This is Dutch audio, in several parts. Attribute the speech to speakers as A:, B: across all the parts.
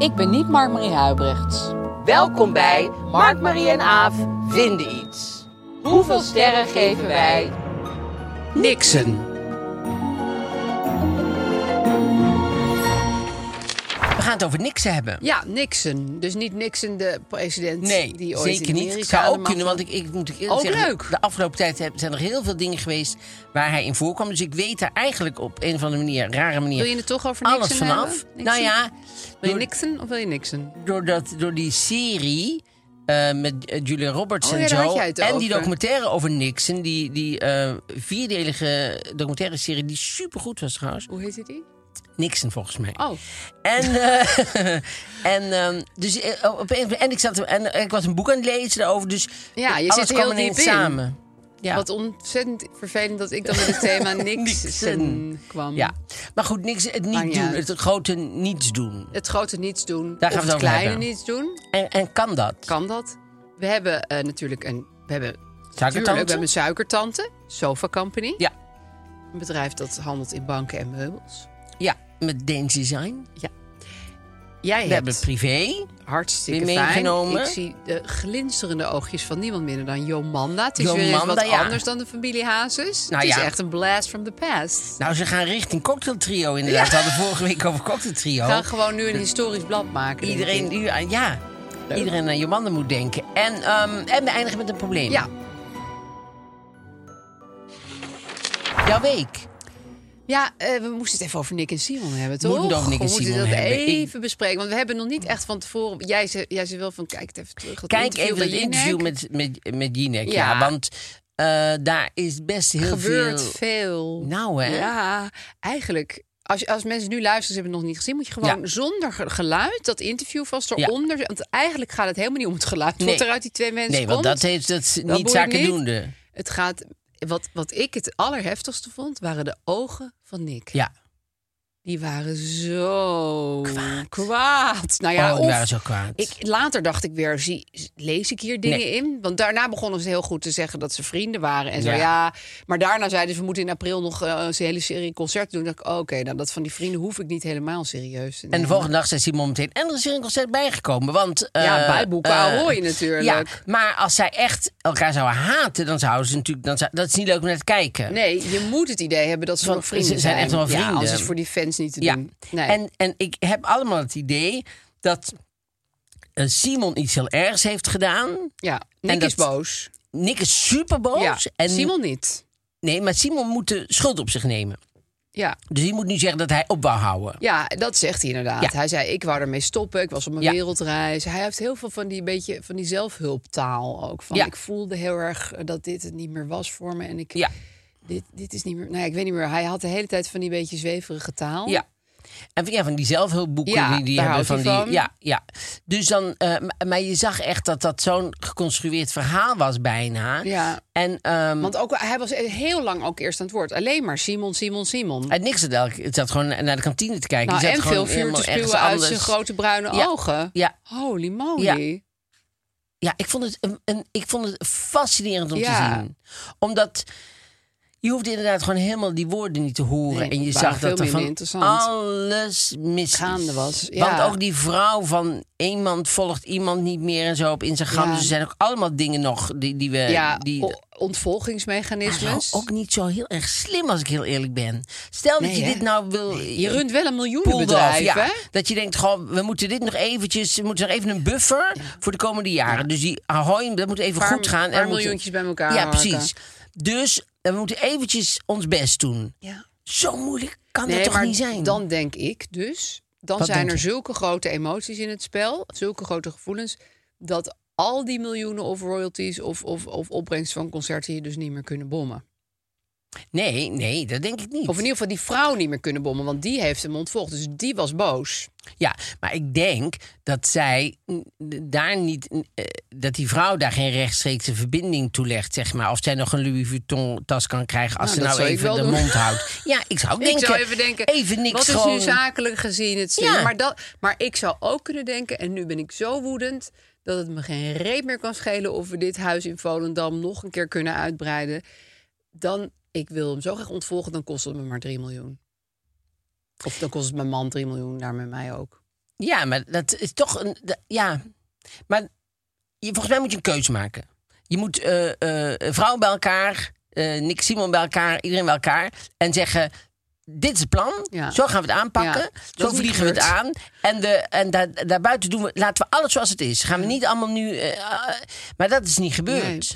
A: Ik ben niet Mark-Marie Huibrechts.
B: Welkom bij Mark, Marie en Aaf vinden iets. Hoeveel sterren geven wij? Niksen. We gaan het over niksen hebben.
A: Ja, Nixon. Dus niet Nixon de president
B: Nee,
A: die ooit
B: zeker
A: in
B: niet.
A: Amerika
B: Het zou ook
A: allemaal-
B: kunnen, want ik, ik moet ik eerlijk
A: Ook
B: zeggen...
A: leuk.
B: De afgelopen tijd heb- zijn er heel veel dingen geweest waar hij in voorkwam. Dus ik weet daar eigenlijk op een of andere manier, rare manier...
A: Wil je het toch over
B: alles
A: Nixon
B: vanaf.
A: hebben? Nixon?
B: Nou ja,
A: Wil je
B: door-
A: Nixon of wil je Nixon?
B: door, dat, door die serie eh, met eh, Julia Roberts
A: Oh
B: en
A: ja, daar
B: zo.
A: had jij het
B: en die
A: over.
B: documentaire over Nixon. Die, die eh, vierdelige documentaire serie die supergoed was trouwens.
A: Hoe heet die?
B: Nixon volgens mij.
A: Oh,
B: En, eh, en, ehm, dus, eh, op een, of andere- en, ik zat, en eh, ik was een boek aan het lezen daarover. Dus
A: Ja, je
B: alles
A: zit er
B: kwam
A: heel
B: ineens
A: diep in.
B: samen. Ja.
A: wat ontzettend vervelend dat ik dan met het thema Nixon kwam.
B: ja. Maar goed, niks, het niet
A: Maar ja.
B: doen. Het grote niets doen.
A: Het grote niets doen
B: Daar
A: of
B: gaan we
A: het
B: het over
A: kleine
B: hebben.
A: niets doen.
B: En, en kan dat?
A: Kan dat? We hebben eh, natuurlijk een... We hebben,
B: Suikertante?
A: tuurlijk, we hebben een suikertante. Sofa Company.
B: Ja.
A: Een bedrijf dat handelt in banken en meubels.
B: Ja, met Deens Design.
A: Jij
B: We hebben
A: hebt
B: privé.
A: hartstikke
B: weer meegenomen.
A: fijn. Ik zie de glinsterende oogjes van niemand minder dan Jomanda. Het is weer eens
B: Jomanda,
A: wat
B: ja.
A: anders dan de familie Hazes.
B: Nou
A: het is
B: ja.
A: echt een blast from the past.
B: Nou, ze gaan richting Cocktail Trio inderdaad. We hadden vorige week over Cocktail Trio.
A: We gaan gewoon nu een historisch blad maken. denk
B: Nou. Iedereen,
A: ik.
B: nu aan- ja, iedereen aan je mannen moet denken. En, ehm, en we eindigen met een probleem.
A: Ja.
B: Jouw week.
A: Ja, eh, we moesten het even over Nick en Simon hebben,
B: We
A: toch?
B: moeten het over Nick en
A: we moeten
B: Simon
A: dat
B: hebben. Ik-
A: even bespreken. Want we hebben nog niet echt van tevoren... Jij zei, jij zei wel van, kijk het even terug. dat
B: Kijk
A: interview
B: even dat
A: bij Jinek.
B: interview met, met, met Jinek. Ja.
A: Ja.
B: want eh, daar is best heel
A: Gebeurt
B: veel...
A: veel.
B: Nou, hè?
A: Ja, eigenlijk. Als, als mensen nu luisteren, ze hebben het nog niet gezien, moet je gewoon
B: Ja.
A: zonder ge- geluid dat interview vast
B: Ja.
A: eronder. Want eigenlijk gaat het helemaal niet om het geluid
B: Nee.
A: wat er uit die twee mensen
B: Nee, want
A: komt.
B: dat, heeft, dat is niet
A: boeit
B: zakendoende.
A: Het gaat. Wat, wat ik het allerheftigste vond, waren de ogen van Nick.
B: Ja.
A: Die waren zo
B: Kwaad.
A: kwaad. Nou ja,
B: oh, die
A: of-
B: waren zo kwaad.
A: ik, later dacht ik weer, zie, lees ik hier dingen in? Want daarna begonnen ze heel goed te zeggen dat ze vrienden waren. En zo,
B: Ja.
A: ja. Maar daarna zeiden ze, we moeten in april nog eh, een hele serie concerten doen. Dan dacht ik, oké, nou, dat van die vrienden hoef ik niet helemaal serieus te
B: En de
A: nemen.
B: volgende dag zei Simon meteen... En er is hier een concert bijgekomen, want... eh,
A: Ja, bijboeken,
B: eh,
A: ahoy natuurlijk.
B: Ja, maar als zij echt elkaar zouden haten, dan zouden ze natuurlijk... Dan zou- dat is niet leuk om naar te kijken.
A: Nee, je moet het idee hebben dat ze
B: Van,
A: nog vrienden
B: ze zijn echt wel
A: Ja,
B: vrienden.
A: anders is voor die fans niet te
B: ja.
A: doen. Nee.
B: En, en ik heb allemaal het idee dat eh, Simon iets heel ergs heeft gedaan.
A: ja, Nick
B: dat-
A: is boos.
B: Nick is superboos.
A: Ja,
B: en
A: Simon niet.
B: Nee, maar Simon moet de schuld op zich nemen.
A: Ja.
B: Dus die moet nu zeggen dat hij op wou houden.
A: Ja, dat zegt hij inderdaad.
B: Ja.
A: Hij zei, ik wou ermee stoppen. Ik was op mijn
B: Ja.
A: wereldreis. Hij heeft heel veel van die, beetje, van die zelfhulptaal ook. Van,
B: Ja.
A: Ik voelde heel erg eh, dat dit het niet meer was voor me. En ik,
B: Ja.
A: dit, dit is niet meer... Nou ja, ik weet niet meer. Hij had de hele tijd van die beetje zweverige taal.
B: Ja. En van- ja, van die zelfhulpboeken
A: Ja,
B: die, die
A: daar
B: hebben van
A: houdt
B: die.
A: hij van.
B: Ja, ja. Dus dan, eh, m- maar je zag echt dat dat zo'n geconstrueerd verhaal was bijna.
A: Ja.
B: En, ehm
A: Want ook, hij was e-, heel lang ook eerst aan het woord. Alleen maar Simon, Simon, Simon.
B: en niks had elke- het zat gewoon naar de kantine te kijken.
A: nou,
B: Die zat
A: en veel
B: gewoon
A: vuur te
B: helemaal ergens
A: spuwen uit zijn
B: anders.
A: grote bruine
B: Ja.
A: ogen.
B: Ja.
A: Holy moly.
B: Ja, ik vond het, een, een- ik vond het fascinerend om
A: Ja.
B: te zien. Omdat, Je hoefde inderdaad gewoon helemaal die woorden niet te horen.
A: Nee,
B: en je
A: waren
B: zag
A: veel
B: dat er
A: minder
B: van
A: interessant.
B: alles mis is.
A: Gaande was, ja.
B: Want ook die vrouw van iemand volgt iemand niet meer en zo op Instagram.
A: Ja.
B: Dus er zijn ook allemaal dingen nog die, die we...
A: ja,
B: Eh, die,
A: o- ontvolgingsmechanismes.
B: Nou, ook niet zo heel erg slim als ik heel eerlijk ben. Stel dat
A: Nee,
B: je
A: hè?
B: dit nou wil...
A: Je runt wel
B: bedrijf,
A: een miljoenenbedrijf,
B: ja.
A: hè?
B: Dat je denkt, goh, we moeten dit nog eventjes, we moeten nog even een buffer voor de komende jaren. Dus die Ahoy, dat moet even
A: Paar-
B: goed gaan.
A: paar
B: we moeten-
A: miljoentjes bij elkaar
B: Ja,
A: harken.
B: precies. Dus eh, we moeten eventjes ons best doen.
A: Ja.
B: Zo moeilijk kan
A: Nee,
B: dat toch
A: maar
B: niet zijn?
A: Dan denk ik dus, dan
B: Wat
A: zijn
B: denk
A: er
B: je?
A: zulke grote emoties in het spel, zulke grote gevoelens, dat al die miljoenen of royalties of, of, of opbrengsten van concerten je dus niet meer kunnen bommen.
B: Nee, nee, dat denk ik niet.
A: Of in ieder geval die vrouw niet meer kunnen bommen, want die heeft hem ontvolgd. Dus die was boos.
B: Ja, maar ik denk dat zij mm, daar niet, eh, dat die vrouw daar geen rechtstreekse verbinding toe legt, zeg maar. Of zij nog een Louis Vuitton tas kan krijgen als
A: Nou,
B: ze nou
A: dat zou ik
B: even
A: wel
B: de
A: doen.
B: mond houdt. Ja, ik zou ook denken.
A: ik zou even denken,
B: even niks
A: wat is
B: gewoon.
A: nu zakelijk gezien het slim?
B: Ja.
A: Maar, dat, maar ik zou ook kunnen denken, en nu ben ik zo woedend... dat het me geen reet meer kan schelen of we dit huis in Volendam nog een keer kunnen uitbreiden. Dan, ik wil hem zo graag ontvolgen, dan kost het me maar 3 miljoen. Of dan kost het mijn man 3 miljoen, daarmee mij ook.
B: Ja, maar dat is toch een. da- ja, maar je, volgens mij moet je een keuze maken. Je moet eh, eh, vrouwen bij elkaar, eh Nick Simon bij elkaar, iedereen bij elkaar en zeggen. Dit is het plan.
A: Ja.
B: Zo gaan we het aanpakken.
A: Ja, dat is
B: zo
A: niet
B: vliegen we het
A: gebeurd.
B: aan. En, de, en daar daarbuiten doen we, laten we alles zoals het is. Gaan we niet allemaal nu. eh, ah, maar dat is niet gebeurd.
A: Nee.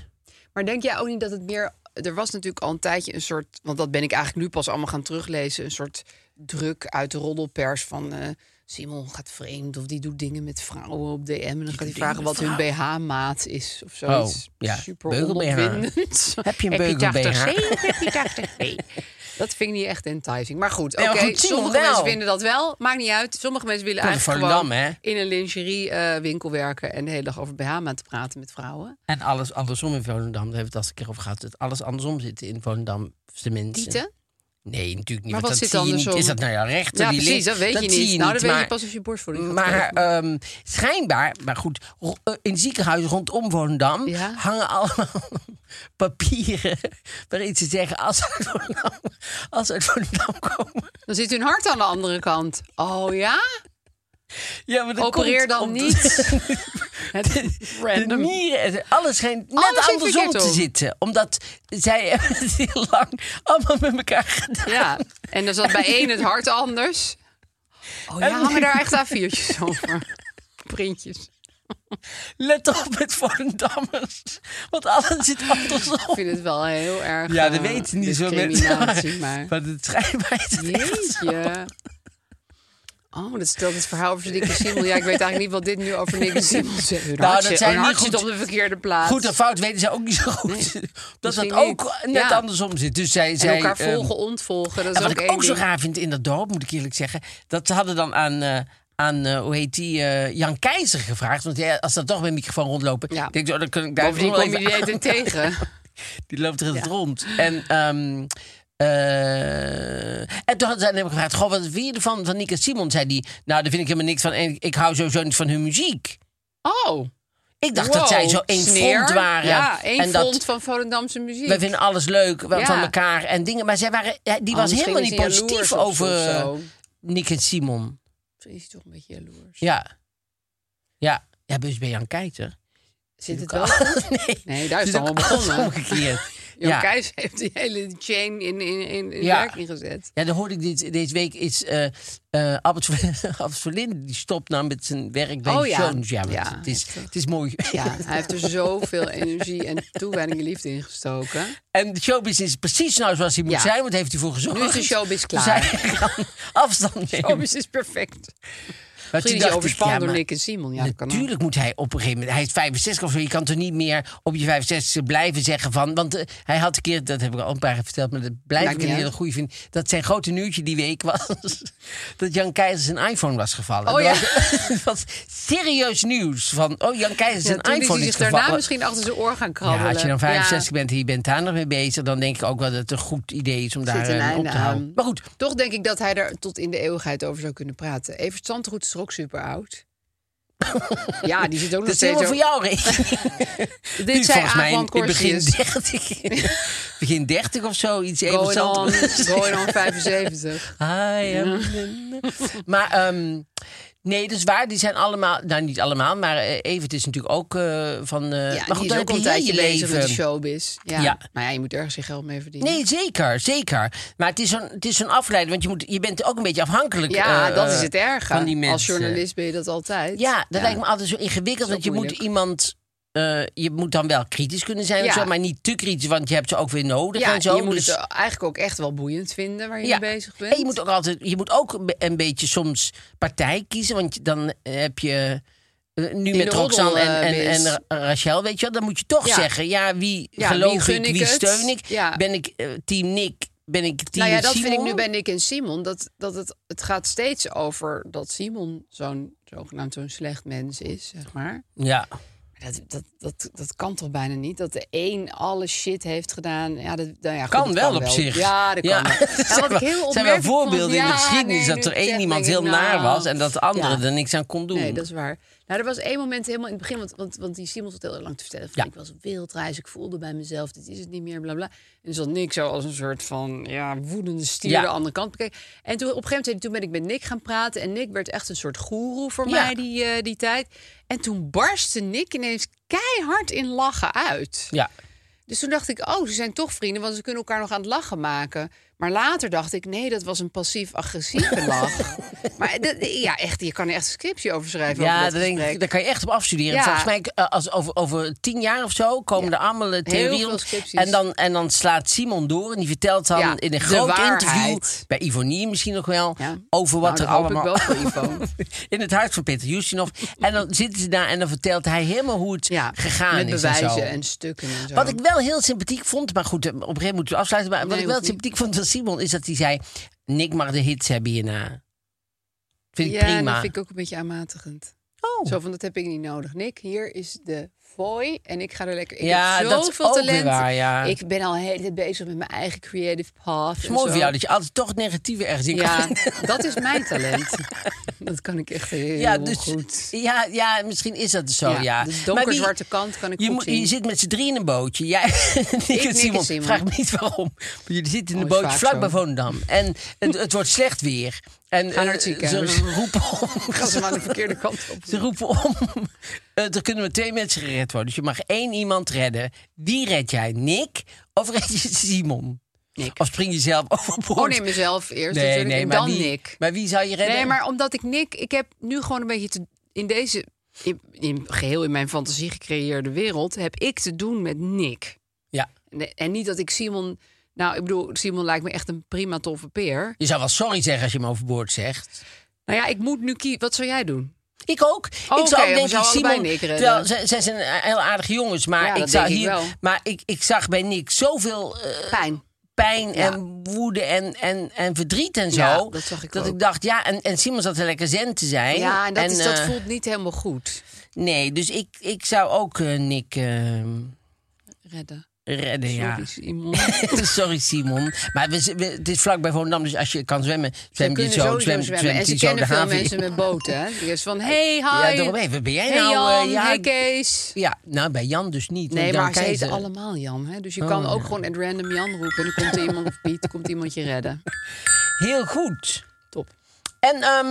A: Maar denk jij ook niet dat het meer... Er was natuurlijk al een tijdje een soort... Want dat ben ik eigenlijk nu pas allemaal gaan teruglezen. Een soort druk uit de roddelpers van... eh, Simon gaat vreemd of die doet dingen met vrouwen op DM. En dan gaat hij vragen wat hun BH-maat is of zoiets.
B: Oh, ja,
A: Super
B: beugel-BH.
A: onopwindend.
B: Heb je een
A: Heb je
B: beugel-BH?
A: 80C? Heb je 80C? Dat vind ik niet echt enticing. Maar goed,
B: Nee,
A: oké.
B: maar goed, Simon
A: sommige
B: wel.
A: mensen vinden dat wel. Maakt niet uit. Sommige mensen willen
B: Komt
A: eigenlijk
B: van
A: gewoon
B: Dam, hè?
A: in een lingeriewinkel werken... en de hele dag over BH-maat praten met vrouwen.
B: En alles andersom in Volendam. Daar hebben we het al eens een keer over gehad. Dat alles andersom zit in Volendam. Tenminste.
A: Dieten?
B: Nee, natuurlijk niet.
A: Maar
B: want dat
A: wat zit
B: zie je
A: andersom?
B: niet. Is dat nou jouw rechter?
A: Ja,
B: die
A: precies,
B: ligt?
A: dat weet je
B: zie
A: niet. Nou, dat weet je
B: maar-
A: pas als je borstvoeding gaat
B: Maar
A: krijgen.
B: ehm, schijnbaar, maar goed, ro- eh, in ziekenhuizen rondom Volendam
A: Ja?
B: hangen allemaal papieren waarin ze zeggen als ze uit Volendam, als ze uit Volendam komen.
A: Dan zit hun hart aan de andere kant. Oh ja?
B: Ja, maar
A: Opereer
B: komt
A: dan
B: omdat-
A: niet.
B: De,
A: Random.
B: nieren, en alles schijnt net
A: Alles zit
B: andersom
A: verkeerd
B: te
A: om.
B: zitten. Omdat zij hebben het heel lang allemaal met elkaar gedaan.
A: Ja. En dan zat bij één het hart anders. Oh ja,
B: Ehm.
A: hangen daar echt A4'tjes over. Printjes.
B: Let op met Volendammers. Want alles zit
A: Ik
B: andersom.
A: vind het wel heel erg...
B: Ja, dat
A: eh,
B: weten niet zo mensen.
A: discriminatie, Maar.
B: Maar het schijnbaar is het echt zo.
A: Jeetje. Oh, dat stelt het verhaal over Nicky Simmel. Ja, ik weet eigenlijk niet wat dit nu over Nicky Simmel zegt. Hun
B: Nou,
A: hart
B: dat
A: zit-
B: zijn
A: hun
B: niet
A: hart zit
B: goed-
A: op de verkeerde plaats.
B: Goed en fout weten zij ook niet zo goed. dat dat
A: misschien
B: ook
A: niet.
B: net
A: Ja.
B: andersom zit. Dus zij,
A: En
B: zij,
A: elkaar
B: ehm,
A: volgen, ontvolgen. Dat
B: en
A: is
B: wat
A: ook
B: ik
A: één
B: ook zo
A: ding.
B: raar vind in dat dorp, moet ik eerlijk zeggen. Dat ze hadden dan aan, eh, aan eh, hoe heet die, eh, Jan Keizer gevraagd. Want ja, als dat toch met een microfoon rondlopen,
A: Ja.
B: denk ik, oh, dan kan ik daar
A: Bovendien
B: wel
A: kom je
B: even
A: die eten
B: aan.
A: tegen.
B: Die loopt er het rond. En, ehm, eh, en toen hadden zij hem gevraagd: Goh, wat vind je ervan van Nika Simon? Zei die: Nou, daar vind ik helemaal niks van. En ik hou sowieso niet van hun muziek.
A: Oh.
B: Ik dacht dat zij zo één
A: Sneer.
B: front waren.
A: Ja, één
B: en dat
A: front van Volendamse muziek.
B: wij vinden alles leuk wa-
A: Ja.
B: van elkaar en dingen. Maar zij waren, ja, die
A: Oh,
B: was
A: misschien
B: helemaal
A: is
B: niet
A: hij jaloers
B: positief
A: op ze
B: over
A: of
B: eh,
A: zo.
B: Nick en Simon.
A: Misschien is hij toch een beetje jaloers.
B: Ja. Ja. Ja, dus ben je aan het kijken?
A: Zit het wel?
B: Kan- Nee.
A: Nee, daar is
B: Dus
A: het allemaal
B: ook alles
A: begonnen.
B: omgekeerd.
A: Jan
B: ja.
A: Keijs heeft die hele chain in, in, in, in
B: Ja.
A: werking gezet.
B: Ja, dan hoorde ik dit, deze week is eh eh Albert, Verlinde, Albert Verlinde, die stopt nou met zijn werk bij
A: Oh ja.
B: Jones. Ja, want
A: Ja,
B: het, is,
A: heftig.
B: het is mooi.
A: Ja, hij heeft er zoveel energie en toewijding en liefde in gestoken.
B: En de showbiz is precies nou zoals hij moet
A: Ja.
B: zijn, want daar heeft hij voor gezorgd.
A: Nu is de showbiz
B: Dus
A: klaar.
B: hij kan afstand nemen.
A: Showbiz is perfect.
B: Maar
A: Misschien
B: toen
A: is hij
B: dacht ik, ja,
A: overspannen door
B: maar-
A: Nick en Simon. Ja, dat kan ook.
B: Natuurlijk moet hij op een gegeven moment... Hij is 65 of zo. Je kan toch niet meer op je 65 blijven zeggen van... Want eh, hij had een keer, dat heb ik al een paar keer verteld... maar dat blijf
A: Maakt
B: ik een
A: niet
B: hele
A: uit.
B: goede vind. Dat zijn grote nieuwtje die week was... dat Jan Keizer zijn iPhone was gevallen.
A: Oh
B: Dat
A: ja.
B: was- Dat was serieus nieuws. Van, oh, Jan Keizer
A: Ja,
B: zijn
A: toen is
B: iPhone
A: hij
B: is
A: zich daarna
B: gevallen.
A: misschien achter zijn oor gaan krabbelen.
B: Ja, als je dan
A: Ja.
B: 65 bent en je bent daar nog mee bezig... dan denk ik ook wel dat het een goed idee is om daar
A: Zit een
B: eh, op
A: einde
B: te houden.
A: aan.
B: Maar goed,
A: Toch denk ik dat hij er tot in de eeuwigheid over zou kunnen praten. Even Zandroet is er ook super oud. Ja, die zit ook
B: Dat is
A: nog
B: helemaal
A: steeds...
B: voor jou
A: over-
B: rekening.
A: Dit
B: Nu
A: zijn
B: volgens mij
A: Abraham
B: in het begin
A: Corsius.
B: 30. begin 30 of zo. Iets even
A: Going
B: zo.
A: on, going on 75.
B: Hi, um, maar ehm, nee, dat is waar. Die zijn allemaal, nou niet allemaal, maar eh, Evert is natuurlijk ook eh, van. eh,
A: Ja,
B: maar
A: maar
B: goed,
A: die
B: dan heb
A: is ook
B: je
A: al
B: heel
A: een tijdje
B: je
A: bezig
B: leven.
A: met de showbiz. Ja.
B: Ja.
A: Maar ja, je moet ergens je geld mee verdienen.
B: Nee, zeker, zeker. Maar het is zo'n, het is zo'n afleiding, want je, moet, je bent ook een beetje afhankelijk.
A: ja,
B: eh,
A: dat
B: eh,
A: is het erg.
B: Van die mensen.
A: Als journalist ben je dat altijd.
B: Ja, dat lijkt me altijd zo ingewikkeld,
A: Dat
B: want
A: is
B: je
A: ook
B: moet
A: moeilijk.
B: iemand. eh, je moet dan wel kritisch kunnen zijn, of
A: Ja.
B: zo, maar niet te kritisch, want je hebt ze ook weer nodig
A: Ja,
B: en zo.
A: je moet
B: dus-
A: het eh, eigenlijk ook echt wel boeiend vinden waar je mee bezig bent.
B: En je moet ook altijd, je moet ook een be- een beetje soms partij kiezen, want dan heb je eh, nu met
A: de
B: Roxanne en,
A: roddel,
B: en,
A: eh,
B: en
A: biz.
B: Ra- Rachel, weet je wel, dan moet je toch
A: Ja.
B: zeggen, ja, wie
A: Ja, wie
B: geloof
A: gun
B: ik,
A: ik
B: wie
A: het?
B: steun ik,
A: Ja.
B: ben ik eh, team Nick, ben ik team
A: nou ja, dat vind ik
B: Simon?
A: nu bij Nick en Simon. Dat, dat het, het gaat steeds over dat Simon zo'n zogenaamd zo'n slecht mens is, zeg maar.
B: Ja,
A: Maar Dat, dat, dat, dat kan toch bijna niet? Dat de een alle shit heeft gedaan. Ja, dat, nou ja, goed,
B: kan
A: dat
B: wel op zich.
A: Ja, dat kan wel.
B: Er
A: Ja, wat
B: zijn
A: ik heel
B: wel
A: opmerkelijk
B: voorbeelden
A: vond-
B: in de
A: Ja,
B: geschiedenis
A: nee,
B: dat
A: nu
B: er één
A: zeg,
B: iemand
A: denk
B: heel
A: ik,
B: naar
A: nou,
B: was en dat de andere
A: ja.
B: er niks aan kon doen.
A: Nee, dat is waar. Nou, er was één moment helemaal in het begin, want, want, want die Simon zat heel lang te vertellen. Van,
B: Ja.
A: Ik was op wildreis, ik voelde bij mezelf, dit is het niet meer, bla bla. En zat Nick zo als een soort van ja, woedende stier
B: Ja.
A: de andere kant bekeken. En toen op een gegeven moment toen ben ik met Nick gaan praten. En Nick werd echt een soort goeroe voor
B: Ja.
A: mij die, eh, die tijd. En toen barstte Nick ineens keihard in lachen uit.
B: Ja,
A: Dus toen dacht ik, oh, ze zijn toch vrienden, want ze kunnen elkaar nog aan het lachen maken. Maar later dacht ik, nee, dat was een passief-agressieve lach. Maar dat- ja, echt, je kan er echt een scriptje over schrijven.
B: ja
A: over dat
B: daar, denk ik,
A: gesprek.
B: daar kan je echt op afstuderen.
A: Ja.
B: Volgens mij, eh, als over, over tien jaar of zo, komen er allemaal eh, theorieën
A: veel
B: rond.
A: scripties.
B: En dan, en dan slaat Simon door en die vertelt dan
A: Ja,
B: in een
A: de
B: groot
A: waarheid.
B: interview... bij Ivonie misschien nog wel,
A: Ja.
B: over wat
A: Nou,
B: er
A: dat hoop ik
B: allemaal...
A: wel voor Ivo.
B: in het huis van Peter Justinov. En dan zitten ze daar en dan vertelt hij helemaal hoe het
A: ja,
B: gegaan
A: met
B: is
A: bewijzen
B: en zo.
A: en, stukken en zo.
B: Wat ik wel heel sympathiek vond, maar goed, eh, op een gegeven moment moeten we afsluiten. Maar wat
A: Nee,
B: ik wel
A: hoeft niet.
B: sympathiek vond van Simon is dat hij zei: Nick mag de hits hebben hierna. Vind ik
A: ja, en
B: prima.
A: dat vind ik ook een beetje aanmatigend.
B: Oh.
A: Zo van, dat heb ik niet nodig. Nick, hier is de fooi en ik ga er lekker... Ik
B: Ja,
A: heb
B: dat is
A: zoveel
B: ook weer
A: talent.
B: waar, ja.
A: Ik ben al heel tijd bezig met mijn eigen creative path.
B: Het is mooi voor jou dat je altijd toch het negatieve ergens in kan
A: Ja,
B: vinden.
A: dat is mijn talent. Dat kan ik echt heel
B: Ja, dus,
A: goed.
B: Ja, ja, misschien is dat zo, ja.
A: Ja, de
B: Maar wie-
A: donkerzwarte kant kan ik
B: je,
A: goed
B: moet-
A: zien.
B: je zit met z'n drieën in een bootje. Jij, Nick
A: Nick
B: en
A: en
B: Simon.
A: Simon.
B: Vraag me niet waarom. Maar jullie zitten in een
A: Oh, is
B: bootje
A: vaak
B: vlak
A: zo.
B: bij Volendam. En het, het wordt slecht weer. En,
A: naar
B: eh,
A: het
B: ze,
A: ziekenhuis.
B: ze roepen om.
A: Ik had hem aan de verkeerde kant op.
B: Ze roepen om. Eh, er kunnen maar twee mensen gered worden. Dus je mag één iemand redden. Wie red jij? Nick of red je Simon?
A: Nick.
B: Of spring je zelf overboord?
A: Oh nee, mezelf eerst
B: Nee,
A: natuurlijk
B: nee,
A: en
B: maar
A: dan
B: wie,
A: Nick.
B: Maar wie zou je redden?
A: Nee, maar omdat ik Nick... Ik heb nu gewoon een beetje te, in deze... In, in- geheel in mijn fantasie gecreëerde wereld... heb ik te doen met Nick.
B: Ja.
A: En, en niet dat ik Simon... Nou, ik bedoel, Simon lijkt me echt een prima toffe peer.
B: Je zou wel sorry zeggen als je hem overboord zegt.
A: Nou ja, ik moet nu kiezen. Wat zou jij doen?
B: Ik ook.
A: Oh,
B: ik
A: oké,
B: zou ook
A: we
B: denken,
A: zouden
B: Simon...
A: allebei Nick redden.
B: terwijl zij, zij zijn heel aardige jongens, maar,
A: Ja,
B: ik,
A: dat
B: zou
A: denk ik
B: hier,
A: wel.
B: maar ik, ik zag bij Nick zoveel eh,
A: Pijn.
B: pijn
A: Ja.
B: en woede en, en, en verdriet en zo.
A: Ja, dat zag ik ook.
B: dacht, ja, en, en Simon zat er lekker zen te zijn.
A: Ja, en dat, is, dat
B: eh,
A: voelt niet helemaal goed.
B: Nee, dus ik, ik zou ook eh, Nick eh,
A: Redden.
B: redden, ja.
A: Sorry, Simon.
B: Sorry Simon, maar we, we- het is vlakbij Volendam, dus als je kan zwemmen,
A: Ze
B: zwem je
A: kunnen
B: zo,
A: sowieso
B: zwem,
A: zwemmen.
B: zwemt
A: en
B: hij
A: ze
B: zo de
A: kennen veel
B: haven in.
A: mensen met boten. Hè? Die is van, hey,
B: Ja,
A: hi.
B: daarom even, ben jij
A: hey,
B: nou... eh,
A: Jan,
B: ja,
A: hey
B: ik-
A: Kees.
B: Ja, nou bij Jan dus niet. want
A: Nee,
B: Jan
A: maar ze heten
B: Keizer-
A: allemaal Jan. Hè?
B: Oh,
A: Dus je kan ook gewoon at random Jan roepen. En dan komt er iemand of Piet, komt iemand je redden.
B: Heel goed.
A: Top.
B: En, ehm,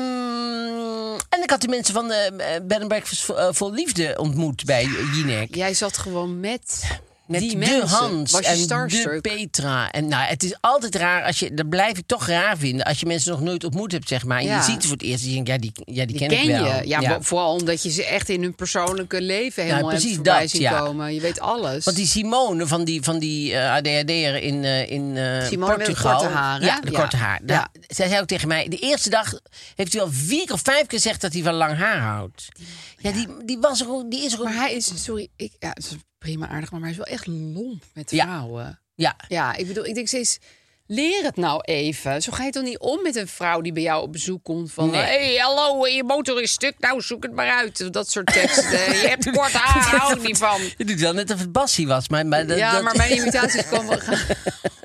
B: en ik had de mensen van de eh, Bed and Breakfast Vol, eh, Vol Liefde ontmoet bij Jinek.
A: Jij zat gewoon met,
B: Met
A: die
B: de
A: mensen.
B: Hans
A: Was je
B: en de
A: starstruck?
B: Petra. En nou, het is altijd raar, als je, dat blijf ik toch raar vinden... als je mensen nog nooit ontmoet hebt, zeg maar. En je
A: Ja.
B: ziet ze voor het eerst en je denkt, ja, die, ja, die,
A: Die ken,
B: ik wel.
A: je. Ja, maar vooral omdat je ze echt in hun persoonlijke leven helemaal
B: precies
A: hebt voorbij
B: dat,
A: zien
B: ja.
A: komen. Je weet alles.
B: Want die Simone van die, van die eh, ADHD'er in, eh in eh
A: Simone met de
B: Portugal.
A: korte haar, hè?
B: Ja, de
A: Ja.
B: korte haar.
A: Ja.
B: Nou, Zij zei ook tegen mij, de eerste dag heeft hij al vier of vijf keer gezegd dat hij van lang haar houdt. Ja, die, die, was er, ook- die is er ook...
A: Maar hij is, sorry, ik, ja, het is prima aardig, maar hij is wel echt lomp met
B: Ja.
A: vrouwen.
B: Ja,
A: Ja, ik bedoel, ik denk steeds... Leer het nou even. Zo ga je toch niet om met een vrouw die bij jou op bezoek komt van...
B: Nee.
A: hey, hallo, eh, je motor is stuk, nou zoek het maar uit. Dat soort teksten. Eh, je hebt kort haar, hou ik niet van.
B: Je doet wel net of het Bassie was. Maar, maar dat-
A: ja,
B: dat-
A: maar mijn imitaties komen gaan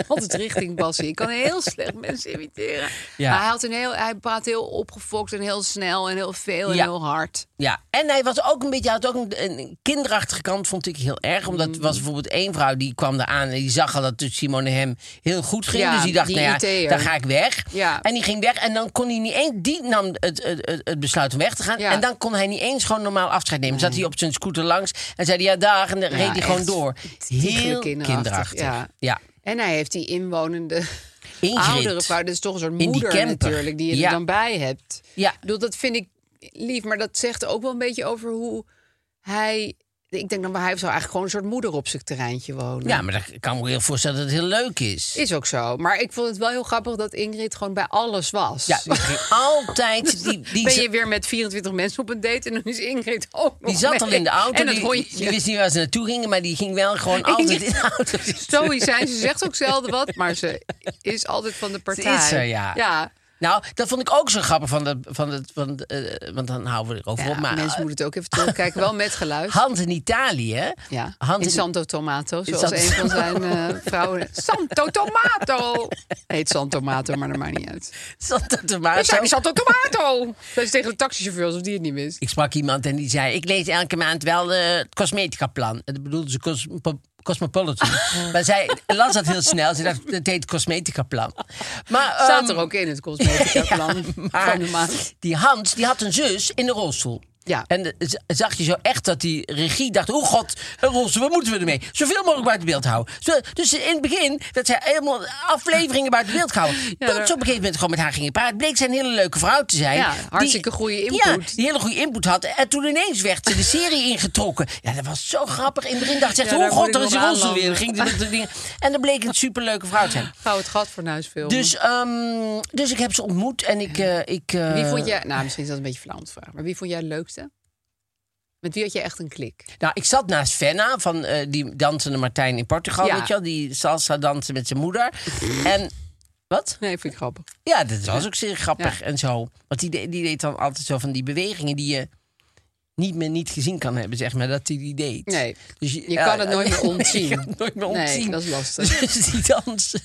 A: altijd richting Bassie. Ik kan heel slecht mensen imiteren.
B: Ja.
A: Maar Hij, had een heel, hij praat heel opgefokt en heel snel en heel veel en
B: Ja.
A: heel hard.
B: Ja, en hij was ook een beetje, hij had ook een, een kinderachtige kant, vond ik heel erg. Omdat er was
A: Mm.
B: bijvoorbeeld één vrouw die kwam eraan en die zag al dat het Simon en hem heel goed ging.
A: Ja,
B: dus die dacht,
A: die
B: nou ja,
A: IT'er.
B: dan ga ik weg.
A: Ja.
B: En die ging weg en dan kon hij niet eens, die nam het, het, het, het besluit om weg te gaan.
A: Ja.
B: En dan kon hij niet eens gewoon normaal afscheid nemen. Zat hij op zijn scooter langs en zei hij, ja dag, en dan reed hij
A: echt
B: gewoon door.
A: stiekelijk
B: Heel
A: kinderachtig,
B: kinderachtig. Ja.
A: ja. En hij heeft die inwonende
B: Ingrid.
A: oudere vrouw. Dat is toch een soort
B: die
A: moeder
B: camper.
A: natuurlijk, die je
B: Ja.
A: er dan bij hebt.
B: Ja.
A: Ik bedoel, dat vind ik lief, maar dat zegt ook wel een beetje over hoe hij... Ik denk dan, maar hij zou eigenlijk gewoon een soort moeder op zijn terreintje wonen.
B: Ja, maar dat kan ik me heel voorstellen dat het heel leuk is.
A: Is ook zo. Maar ik vond het wel heel grappig dat Ingrid gewoon bij alles was.
B: Ja, die ging altijd... Die, die,
A: ben je weer met 24 mensen op een date en dan is Ingrid ook nog
B: Die zat
A: mee.
B: al in de auto.
A: Oh, En het
B: die,
A: hondje.
B: die wist niet waar ze naartoe gingen, maar die ging wel gewoon altijd in de auto zitten.
A: Zoiets zijn ze, zegt ook zelden wat, maar ze is altijd van de partij.
B: is er, ja.
A: Ja,
B: Nou, dat vond ik ook zo grappig van de, van het, van de, eh, want dan houden we erover
A: ja
B: op. Maar
A: mensen moeten het ook even terugkijken, wel met geluid.
B: Hand in Italië, hè?
A: ja,
B: Hand
A: in Santo Tomato, zoals
B: Santo-
A: een van zijn eh, vrouwen. Santo Tomato! Heet Santo Tomato, maar dat maakt niet uit.
B: Santo
A: We zijn
B: Tomato.
A: in Santo Tomato! Dat is tegen de taxichauffeur, alsof die het niet wist.
B: Ik sprak iemand en die zei: Ik lees elke maand wel eh, het cosmetica-plan. Dat bedoelde ze cosmo- Cosmopolitan. maar zij las dat heel snel. Ze dacht: Het heet cosmetica-plan. Maar,
A: Staat
B: ehm,
A: er ook in het cosmetica plan
B: Maar
A: van de maand.
B: die Hans, die had een zus in de rolstoel.
A: Ja.
B: En eh, z- zag je zo echt dat die regie dacht... oh god, een rolstoel, wat moeten we ermee? Zoveel mogelijk buiten beeld houden. Zo- Dus in het begin dat zij helemaal afleveringen buiten beeld houden. Tot ze op een gegeven moment gewoon met haar gingen praten. Bleek zij een hele leuke vrouw te zijn.
A: Ja,
B: die-
A: hartstikke goede input.
B: Ja, die hele goede input had. En toen ineens werd ze de serie ingetrokken. Ja, dat was zo grappig. In het begin dacht ze echt...
A: Ja,
B: oh
A: daar
B: god,
A: moet ik
B: er is
A: nog
B: een rolstoel
A: aanlanden.
B: weer. Dan ging ze met de dingen- en dan bleek het een superleuke vrouw te zijn.
A: Gauw het gat voor een huisfilm.
B: Dus, ehm, dus ik heb ze ontmoet en ik... eh, ik eh,
A: Wie vond jij, nou misschien is dat een beetje flauw om te vragen, maar wie vond jij het leukste? Met wie had je echt een klik?
B: Nou, ik zat naast Fenna van eh, die dansende Martijn in Portugal,
A: Ja.
B: weet je wel? Die salsa dansen met zijn moeder. en wat?
A: Nee, vind ik grappig.
B: Ja, dat was ook zeer grappig
A: Ja.
B: en zo. Want die, de- die deed dan altijd zo van die bewegingen die je niet meer niet gezien kan hebben, zeg maar, dat hij die deed.
A: Nee,
B: Dus
A: je kan het nooit meer ontzien.
B: Je kan het nooit meer
A: Nee,
B: ontzien.
A: dat is lastig.
B: Dus die dansen,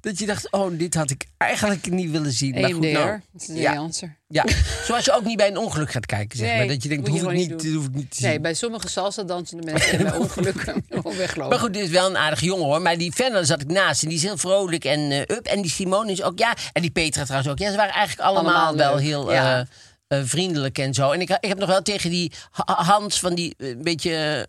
B: dat je dacht, oh, dit had ik eigenlijk niet willen zien. Maar goed, nou,
A: ja.
B: ja, ja, zoals je ook niet bij een ongeluk gaat kijken, zeg maar. Dat je denkt, dat hoef ik niet, dat hoef ik niet te zien.
A: Nee, bij sommige salsa dansende mensen en bij ongelukken gewoon weglopen.
B: Maar goed, dit is wel een aardige jongen hoor. Maar die Fenner zat ik naast en die is heel vrolijk en eh, up. En die Simone is ook, ja. En die Petra trouwens ook. Ja, ze waren eigenlijk allemaal,
A: Allemaal
B: wel
A: leuk,
B: heel
A: ja.
B: eh, eh, vriendelijk en zo. En ik, ik heb nog wel tegen die Ha- Ha- Hans van die eh, beetje...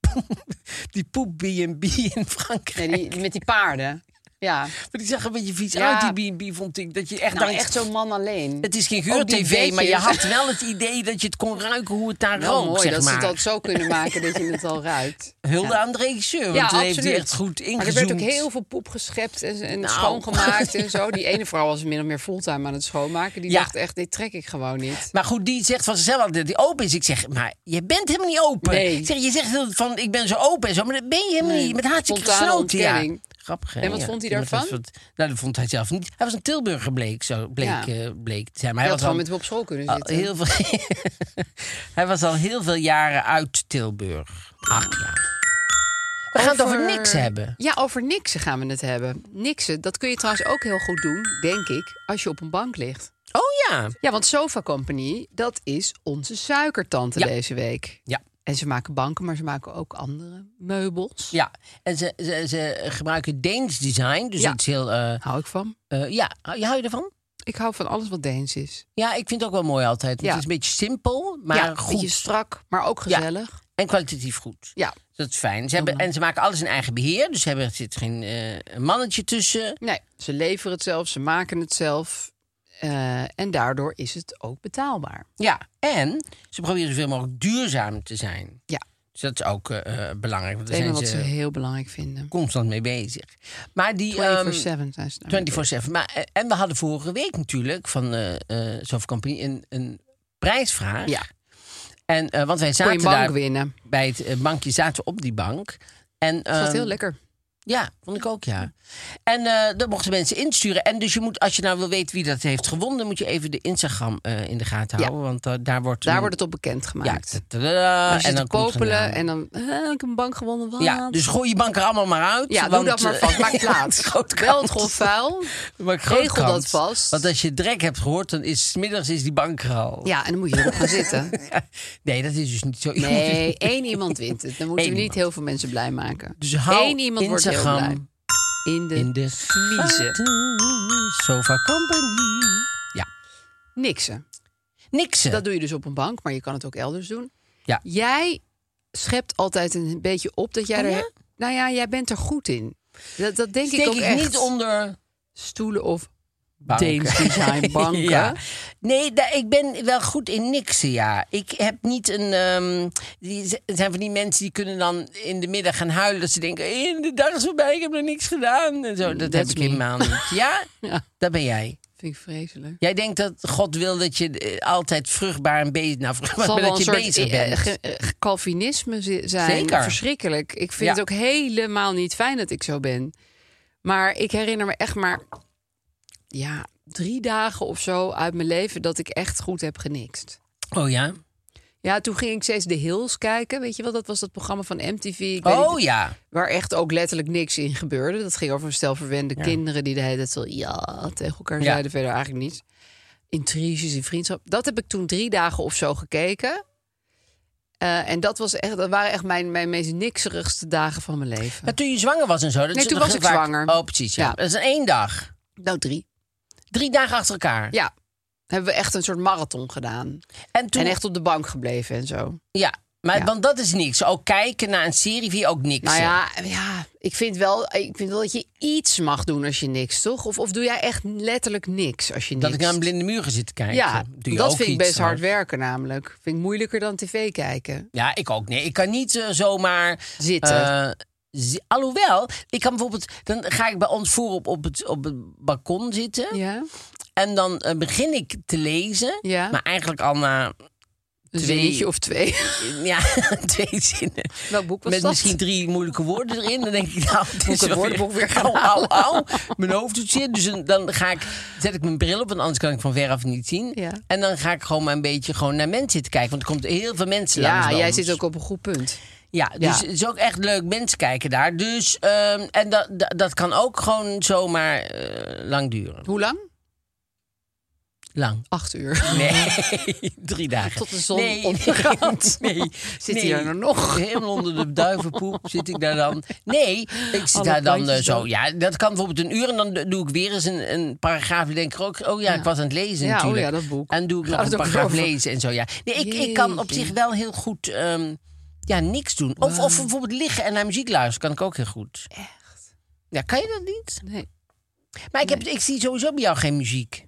B: eh, die poep B&B in Frankrijk.
A: Nee, die, die met die paarden. Ja,
B: Maar die zag er een beetje vies
A: Ja.
B: uit, die B&B, vond ik. Dat je echt
A: nou
B: denkt,
A: echt zo'n man alleen.
B: Het is geen
A: Ook die
B: geur-tv, maar je
A: bedjes.
B: had wel het idee dat je het kon ruiken hoe het daar
A: Wel
B: rook,
A: Nou, mooi
B: zeg
A: dat
B: maar.
A: ze dat zo kunnen maken dat je het al ruikt.
B: Hulde aan de regisseur, want
A: Ja,
B: die heeft hij
A: absoluut.
B: echt goed ingezoomd.
A: Maar er werd ook heel veel poep geschept en, en
B: Nou.
A: schoongemaakt en zo. Die ene vrouw was min of meer fulltime aan het schoonmaken. Die
B: Ja.
A: dacht echt, dit trek ik gewoon niet.
B: Maar goed, die zegt van zichzelf dat hij open is. Ik zeg, maar je bent helemaal niet open.
A: Nee.
B: Ik zeg, je zegt heel van, ik ben zo open en zo. Maar dat ben je helemaal
A: Nee.
B: niet. Met hartstikke
A: Spontane
B: gesloten, ja.
A: ontkenning.
B: Grappig, hè?
A: En wat
B: Ja.
A: vond hij
B: Ja, maar dat
A: daarvan?
B: was wat- nou, dat vond hij zelf niet. Hij was een Tilburger, bleek, zo, bleek,
A: Ja.
B: eh, bleek te zijn. Maar
A: Hij
B: hij was
A: had gewoon
B: al
A: met hem op school kunnen
B: al
A: zitten.
B: heel veel... hij was al heel veel jaren uit Tilburg. Ach, ja. We gaan het over niks hebben.
A: Ja, over niksen gaan we het hebben. Niksen, dat kun je trouwens ook heel goed doen, denk ik, als je op een bank ligt.
B: Oh ja.
A: Ja, want Sofa Company, dat is onze suikertante
B: Ja.
A: deze week.
B: Ja.
A: En ze maken banken, maar ze maken ook andere meubels.
B: Ja, en ze, ze, ze gebruiken Deens design. Dus
A: Ja.
B: iets heel... eh,
A: Hou ik van.
B: eh, ja, hou hou je ervan?
A: Ik hou van alles wat Deens is.
B: Ja, ik vind het ook wel mooi altijd. Want
A: Ja.
B: Het is een beetje simpel, maar
A: ja,
B: goed.
A: beetje strak, maar ook gezellig.
B: En kwalitatief goed.
A: Ja.
B: Dat is fijn. Ze hebben, en ze maken alles in eigen beheer. Dus ze hebben, er zit geen eh, mannetje tussen.
A: Nee, ze leveren het zelf, ze maken het zelf. eh, en daardoor is het ook betaalbaar.
B: Ja. En ze proberen zoveel mogelijk duurzaam te zijn.
A: Ja,
B: Dus dat is ook eh, eh, belangrijk. Want
A: dat
B: daar
A: is
B: zijn
A: wat
B: ze
A: ze heel belangrijk vinden. 24-7
B: constant mee bezig. Maar die... ehm,
A: zijn ze daarmee
B: 24-7. Maar, eh, En we hadden vorige week natuurlijk van eh eh, Sofa Company een, een prijsvraag.
A: Ja.
B: En, eh, want wij
A: Kon je
B: zaten
A: bank
B: daar
A: winnen.
B: bij het eh, bankje, zaten we op die bank. En,
A: Dat was
B: ehm,
A: heel lekker.
B: Ja, vond ik ook, ja. En eh dat mochten mensen insturen. En dus je moet, als je nou wil weten wie dat heeft gewonnen, moet je even de Instagram eh, in de gaten
A: Ja.
B: houden. Want eh, daar wordt.
A: Daar
B: nu-
A: wordt het op bekend
B: Ja,
A: gemaakt. Dus
B: tadada,
A: en dan
B: komt er
A: popelen
B: een-
A: en dan eh, ik heb een bank gewonnen. Wat?
B: Ja, dus gooi je bank er allemaal maar uit.
A: Ja, doe
B: want,
A: dat maar
B: eh,
A: vast. Maak
B: ja,
A: plaats.
B: groot
A: Wel het
B: kans.
A: grof vuil.
B: Maak groot
A: Regel dat
B: kans.
A: vast.
B: Want als je drek hebt gehoord, dan is 's middags is die bank er al.
A: Ja, en dan moet je erop gaan zitten.
B: Nee, dat is dus niet zo. Je moet dus-
A: Nee, één iemand wint het. Dan moeten
B: Eén
A: we
B: iemand.
A: niet heel veel mensen blij maken.
B: Dus hou
A: Eén iemand wordt heel
B: Instagram
A: blij. In de,
B: In de
A: smiezen.
B: Sofa Company. Ja,
A: niksen.
B: niksen.
A: Dat doe je dus op een bank, maar je kan het ook elders doen.
B: Ja.
A: Jij schept altijd een beetje op dat jij
B: Oh
A: er...
B: ja?
A: Nou ja, jij bent er goed in. Dat, dat denk
B: Steek
A: ik ook
B: ik
A: echt.
B: niet onder
A: Stoelen of
B: banken.
A: Deens design banken.
B: Ja. Nee, da- ik ben wel goed in niksen, ja. Ik heb niet een... ehm, die, z- het zijn van die mensen die kunnen dan in de middag gaan huilen... dat ze denken, "Eh, in de dag is voorbij, ik heb nog niks gedaan. En zo, dat heb
A: That's
B: ik
A: me.
B: helemaal niet. Ja?
A: Ja.
B: Dat ben jij.
A: Vind ik vreselijk.
B: Jij denkt dat God wil dat je eh, altijd vruchtbaar en bezig... Nou,
A: Het
B: vruchtbaar,
A: zal
B: maar
A: wel
B: dat
A: een
B: je
A: soort
B: bezig
A: eh,
B: bent.
A: ge- eh, Calvinisme zi- zijn.
B: Zeker.
A: Verschrikkelijk. Ik vind
B: Ja.
A: het ook helemaal niet fijn dat ik zo ben. Maar ik herinner me echt maar ja, drie dagen of zo uit mijn leven dat ik echt goed heb genikst.
B: Oh ja?
A: Ja, toen ging ik steeds de Hills kijken. Weet je wel, dat was dat programma van MTV. Ik weet
B: Oh
A: niet-
B: ja.
A: Waar echt ook letterlijk niks in gebeurde. Dat ging over een stel verwende kinderen die de hele tijd zo ja tegen elkaar
B: Ja.
A: zeiden. Verder eigenlijk niets. Intriges in vriendschap. Dat heb ik toen drie dagen of zo gekeken. Eh, en dat, was echt, dat waren echt mijn, mijn meest nikserigste dagen van mijn leven.
B: Maar toen je zwanger was en zo... Dat
A: Nee,
B: is
A: toen
B: nog
A: was
B: heel
A: ik
B: vaak-
A: zwanger.
B: Oh, precies, ja.
A: Ja.
B: Dat is een één dag.
A: Nou, drie.
B: Drie dagen achter elkaar.
A: Ja. Hebben we echt een soort marathon gedaan.
B: En toen...
A: En echt op de bank gebleven en zo.
B: Ja, maar
A: Ja.
B: want dat is niks. Ook kijken naar een serie vind je ook niks.
A: Nou ja, ja ik, vind wel, ik vind wel dat je iets mag doen als je niks, toch? Of, of doe jij echt letterlijk niks als je niks
B: dat ik naar een blinde muur ga zitten kijken.
A: Ja,
B: Doe je
A: dat
B: ook
A: vind ik
B: iets,
A: best hard
B: trouwens.
A: werken namelijk. Vind ik moeilijker dan tv kijken.
B: Ja, ik ook. Nee, ik kan niet eh, zomaar...
A: Zitten.
B: eh, zi- Alhoewel, ik kan bijvoorbeeld, dan ga ik bij ons voorop op het, op het balkon zitten.
A: Ja,
B: En dan eh, begin ik te lezen.
A: Ja.
B: Maar eigenlijk al na
A: een
B: Twee.
A: zinnetje of twee.
B: ja, twee zinnen.
A: Welk boek was
B: Met
A: dat?
B: misschien drie moeilijke woorden erin. Dan denk ik, nou, het is
A: Moet ik het
B: wel
A: woordenboek weer gaan
B: Au, au, au. Mijn hoofd doet zeer. Dus een- dan ga ik, zet ik mijn bril op, want anders kan ik van veraf niet zien.
A: Ja.
B: En dan ga ik gewoon maar een beetje gewoon naar mensen zitten kijken. Want er komt heel veel mensen langs
A: Ja,
B: bij
A: jij
B: ons.
A: zit ook op een goed punt.
B: Ja, dus
A: Ja.
B: het is ook echt leuk mensen kijken daar. Dus, ehm, en dat, dat, dat kan ook gewoon zomaar eh, lang duren.
A: Hoe lang?
B: Lang.
A: Acht uur.
B: Nee, drie dagen.
A: Tot de zon
B: nee,
A: ondergaat.
B: Nee, nee,
A: Zit
B: nee.
A: hij er nou nog?
B: Helemaal onder de duivenpoep zit ik daar dan. Nee, ik zit
A: Alle
B: daar dan eh,
A: plantjes
B: zo.
A: dood.
B: Ja, dat kan bijvoorbeeld een uur. En dan do- doe ik weer eens een, een paragraaf. Ik denk ik ook, oh ja, ik was aan het lezen
A: Ja, oh
B: natuurlijk.
A: ja, dat boek.
B: En doe ik
A: Gaat
B: nog
A: het
B: een
A: ook
B: paragraaf
A: over?
B: lezen en zo. Ja. Nee, ik, ik kan op
A: Jeetje.
B: zich wel heel goed ehm, ja, niks doen. Of, of bijvoorbeeld liggen en naar muziek luisteren kan ik ook heel goed. Echt? Ja, kan je dat niet?
A: Nee.
B: Maar ik, heb, ik zie sowieso bij jou geen muziek.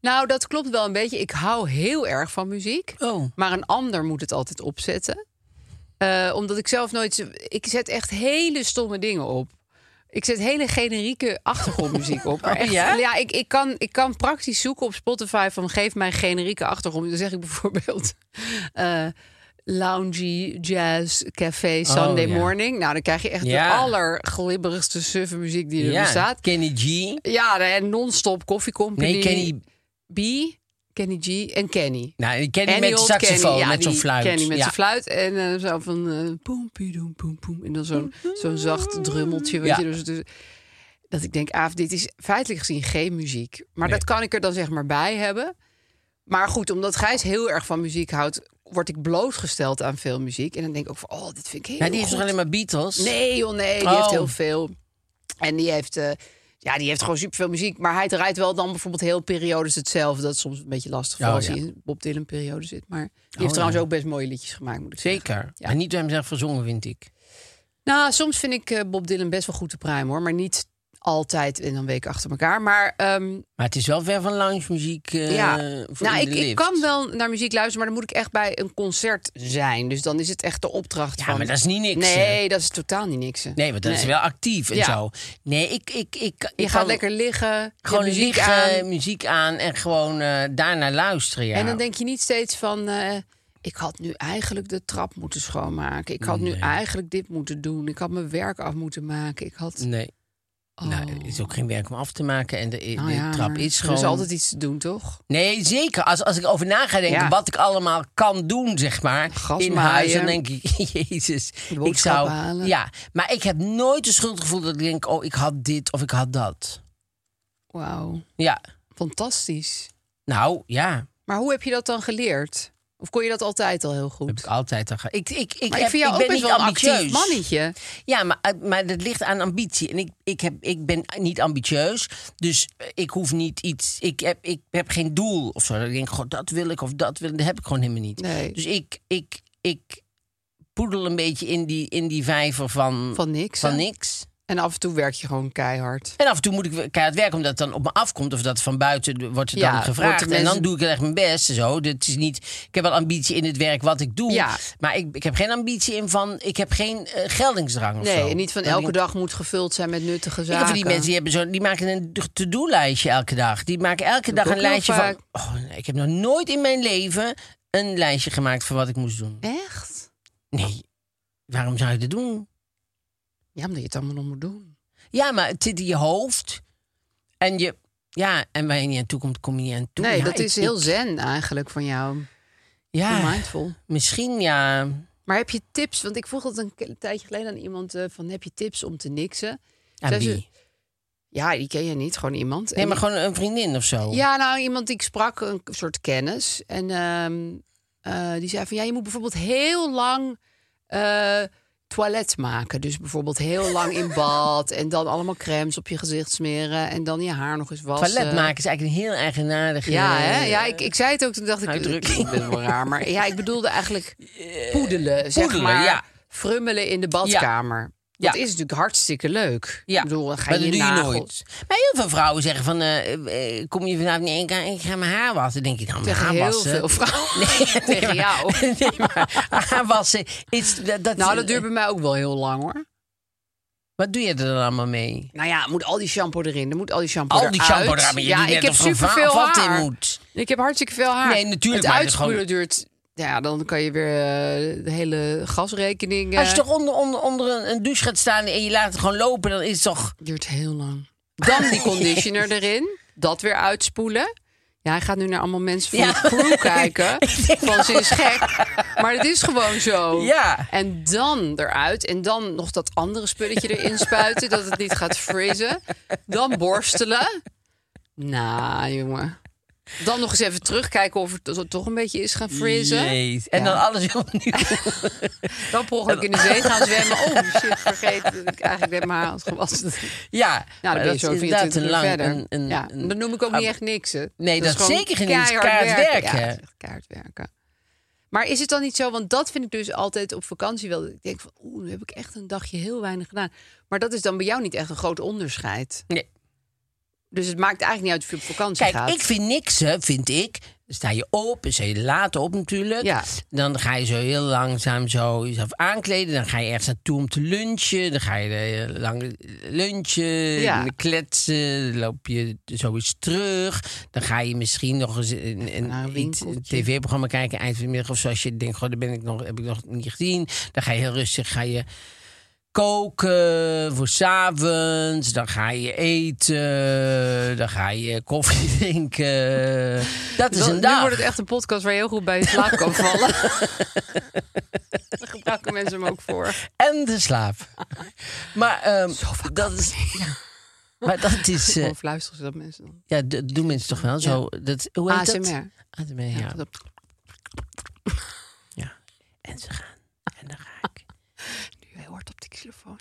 A: Nou, dat klopt wel een beetje. Ik hou heel erg van muziek.
B: Oh.
A: Maar een ander moet het altijd opzetten. Eh, omdat ik zelf nooit... zo- Ik zet echt hele stomme dingen op. Ik zet hele generieke achtergrondmuziek op. Maar
B: Oh,
A: echt,
B: ja?
A: ja, ik, ik, kan, ik kan praktisch zoeken op Spotify van geef mij generieke achtergrond. Dan zeg ik bijvoorbeeld eh loungy, jazz, café, Sunday
B: Oh, ja.
A: morning. Nou, dan krijg je echt
B: Ja.
A: de allerglibberigste suffe muziek die er
B: Ja,
A: bestaat.
B: Kenny G.
A: Ja, en non-stop Coffee Company.
B: Nee, Kenny...
A: B, Kenny G en Kenny.
B: Nou, die Kenny
A: En
B: met
A: die
B: de
A: old
B: saxofoon,
A: Kenny, ja,
B: met zo'n
A: die
B: fluit.
A: Kenny met
B: ja.
A: zijn fluit en eh, zo van eh, poem, poem, poem, poem. En dan zo'n zo'n zacht drummeltje, weet
B: Ja.
A: je. Dus, dus- dat ik denk, af, dit is feitelijk gezien geen muziek. Maar dat kan ik er dan zeg maar bij hebben. Maar goed, omdat Gijs heel erg van muziek houdt... word ik blootgesteld aan veel muziek. En dan denk ik ook van, oh, dit vind ik heel
B: Ja, die heeft
A: goed.
B: toch alleen maar Beatles?
A: Nee, joh, nee. Die
B: Oh.
A: heeft heel veel. En die heeft, eh, ja, die heeft gewoon superveel muziek. Maar hij draait wel dan bijvoorbeeld heel periodes hetzelfde. Dat is soms een beetje lastig voor
B: Oh,
A: als
B: ja. Oh,
A: hij in Bob Dylan periode zit. Maar die heeft
B: ja.
A: trouwens ook best mooie liedjes gemaakt, moet ik zeggen.
B: Zeker.
A: Ja.
B: Maar niet door hemzelf verzongen, vind ik.
A: Nou, soms vind ik eh, Bob Dylan best wel goed te pruimen, hoor. Maar niet altijd in een week achter elkaar. Maar ehm,
B: Maar het is wel ver van lounge-muziek eh,
A: ja,
B: voor
A: nou,
B: in
A: ik,
B: de
A: ik
B: lift.
A: kan wel naar muziek luisteren, maar dan moet ik echt bij een concert zijn. Dus dan is het echt de opdracht
B: Ja,
A: van...
B: maar dat is niet niks. hè?
A: Nee, dat is totaal niet niks. hè.
B: Nee, want dat is wel actief en
A: Ja.
B: zo. Nee, ik... ik, ik, ik
A: Je
B: kan
A: gaat lekker liggen, je hebt
B: Gewoon
A: muziek
B: muziek liggen,
A: aan.
B: muziek aan en gewoon eh daarnaar luisteren, ja.
A: En dan denk je niet steeds van. eh, ik had nu eigenlijk de trap moeten schoonmaken. Ik had
B: Mm,
A: nu eigenlijk dit moeten doen. Ik had mijn werk af moeten maken. Ik had...
B: Nee. Nou, er is ook geen werk om af te maken. En de, de
A: Nou Oh. ja,
B: trap
A: maar
B: is gewoon...
A: Er is altijd iets te doen, toch?
B: Nee, zeker. Als, als ik over na ga denken
A: Ja.
B: wat ik allemaal kan doen, zeg maar,
A: Gas
B: in
A: maaien.
B: huis, dan denk ik, jezus, ik
A: boodschappen
B: zou...
A: halen.
B: Ja, maar ik heb nooit een schuldgevoel dat ik denk, oh, ik had dit of ik had dat.
A: Wauw,
B: Ja,
A: fantastisch.
B: nou, ja,
A: Maar hoe heb je dat dan geleerd? Of kon je dat altijd al heel
B: heb
A: goed?
B: ik altijd al ge- Ik, ik, ik,
A: maar
B: heb,
A: ik vind jou
B: ik
A: ook
B: ben
A: best
B: niet
A: wel een actief
B: ambitieus.
A: mannetje.
B: Ja, maar, eh, maar dat ligt aan ambitie. En ik, ik, heb, ik ben niet ambitieus. Dus eh, ik hoef niet iets. Ik heb, ik heb geen doel of zo. Dat ik denk, god, dat wil ik of dat wil ik. Dat heb ik gewoon helemaal niet.
A: Nee.
B: Dus ik, ik, ik poedel een beetje in die, in die vijver van,
A: Van niks,
B: van
A: hè?
B: niks.
A: En af en toe werk je gewoon keihard.
B: En af en toe moet ik weer keihard werken omdat het dan op me afkomt. Of dat van buiten wordt er
A: Ja,
B: dan
A: wordt er
B: gevraagd. En dan
A: mensen-
B: doe ik echt mijn best. en Zo. Dat is niet, ik heb wel ambitie in het werk wat ik doe.
A: Ja.
B: Maar ik, ik heb geen ambitie in van... Ik heb geen eh, geldingsdrang of zo.
A: Nee, en niet van
B: Dan
A: elke
B: denk-
A: dag moet gevuld zijn met nuttige
B: Ik
A: zaken.
B: heb van die mensen die, hebben zo, die maken een to-do-lijstje elke dag. Die maken elke dag
A: ik
B: een
A: ook
B: lijstje
A: heel
B: van... Oh, nee, ik heb nog nooit in mijn leven een lijstje gemaakt van wat ik moest doen.
A: Echt?
B: Nee, waarom zou je dat doen?
A: Ja, omdat je het allemaal nog moet doen.
B: Ja, maar het zit in je hoofd. En je... Ja, en waar je niet aan toe komt, kom je niet aan toe.
A: nee,
B: Ja,
A: dat
B: ik-
A: is heel
B: ik-
A: zen eigenlijk van jou. Heel
B: Ja,
A: mindful.
B: misschien ja.
A: Maar heb je tips? Want ik vroeg dat een ke- tijdje geleden aan iemand eh, van heb je tips om te niksen?
B: Aan
A: Zij ze-
B: wie?
A: Ja, die ken je niet, gewoon iemand.
B: Nee,
A: En
B: maar gewoon een vriendin of zo.
A: Ja, nou, iemand die ik sprak, een k- soort kennis. En ehm, eh, die zei van, ja, je moet bijvoorbeeld heel lang eh, toilet maken. Dus bijvoorbeeld heel lang in bad en dan allemaal crèmes op je gezicht smeren... en dan je haar nog eens wassen.
B: Toilet maken is eigenlijk een heel eigenaardig...
A: eh, Ja,
B: eh,
A: hè? ja ik, ik zei het ook, toen dacht ik...
B: uitdrukking.
A: Ik ben wel raar, maar ja, ik bedoelde eigenlijk poedelen, zeg
B: poedelen,
A: maar.
B: ja.
A: Frummelen in de badkamer.
B: Ja.
A: Dat is natuurlijk hartstikke leuk.
B: Ja,
A: ik bedoel, dan ga
B: maar
A: je
B: dat doe je
A: nagels-
B: nooit. Maar heel veel vrouwen zeggen van, eh, eh, kom je vanavond niet in, ik ga mijn haar wassen. Dan denk ik, nou, mijn
A: Tegen
B: haar
A: heel
B: wassen.
A: veel vrouwen.
B: Nee,
A: Tegen
B: nee, maar-
A: jou.
B: Nee, maar haar wassen. Is, dat, dat-
A: Nou, dat duurt bij mij ook wel heel lang hoor.
B: Wat doe je er dan allemaal mee?
A: Nou ja, moet al die shampoo erin. Er moet al die shampoo
B: Al die shampoo
A: eruit.
B: eruit, maar je
A: ja,
B: doet net
A: ik heb
B: of er een
A: superveel
B: va- vat in
A: haar.
B: moet.
A: Ik heb hartstikke veel haar.
B: Nee, natuurlijk, maar
A: Het
B: dat is
A: uitspoelen
B: gewoon-
A: duurt... Ja, dan kan je weer eh, de hele gasrekening... eh,
B: Als je toch onder, onder, onder een- een douche gaat staan en je laat het gewoon lopen, dan is het toch...
A: Duurt heel lang. Dan die conditioner erin. Dat weer uitspoelen. Ja, hij gaat nu naar allemaal mensen van
B: Ja.
A: de crew kijken.
B: Ik denk
A: Van ze is gek. Maar het is gewoon zo.
B: Ja.
A: En dan eruit. En dan nog dat andere spulletje erin spuiten. dat het niet gaat vriezen. Dan borstelen. Nou, jongen. Dan nog eens even terugkijken of het to- toch een beetje is gaan vriezen.
B: Jeez. En
A: Ja.
B: dan alles weer opnieuw.
A: Dan per ongeluk in de zee gaan zwemmen. Oh shit, vergeet dat ik eigenlijk net mijn haar had gewassen.
B: ja,
A: Nou,
B: maar
A: dan ben je zo
B: is
A: 24 uur verder.
B: een- een-
A: ja,
B: een-
A: dan noem ik ook niet
B: ab-
A: echt niks. Hè.
B: Nee, dat is
A: gewoon
B: zeker geen niks. Keihard werken.
A: Ja, dat is echt keihard werken. Maar is het dan niet zo, want dat vind ik dus altijd op vakantie wel. dat Ik denk van, oeh, nu heb ik echt een dagje heel weinig gedaan. Maar dat is dan bij jou niet echt een groot onderscheid.
B: Nee.
A: Dus het maakt eigenlijk niet uit of je op vakantie
B: Kijk,
A: gaat.
B: ik vind niks, hè, vind ik. Dan sta je op, sta je later op natuurlijk.
A: Ja.
B: Dan ga je zo heel langzaam zo jezelf aankleden. Dan ga je ergens naartoe om te lunchen. Dan ga je er, eh, lang lunchen,
A: Ja.
B: en kletsen. Dan loop je zo eens terug. Dan ga je misschien nog eens een, een,
A: Naar een
B: iets- een
A: winkeltje.
B: tv-programma kijken eind van de middag. Of zoals je denkt, goh, dat ben ik nog, heb ik nog niet gezien. Dan ga je heel rustig, ga je koken voor 's avonds. Dan ga je eten. Dan ga je koffie drinken. Dat is
A: Dan-
B: een
A: Nu
B: dag.
A: wordt het echt een podcast waar je heel goed bij je slaap kan vallen. Daar gebruiken mensen hem ook voor.
B: En de slaap. maar ehm, dat is... ja. Maar dat is... eh,
A: Gewoon fluisteren zodat mensen dan...
B: ja, dat doen mensen toch wel zo. Dat, hoe heet dat?
A: ASMR.
B: ASMR, ja.
A: dat-
B: ja. En ze gaan. En dan ga ik.
A: Hij hoort op de telefoon.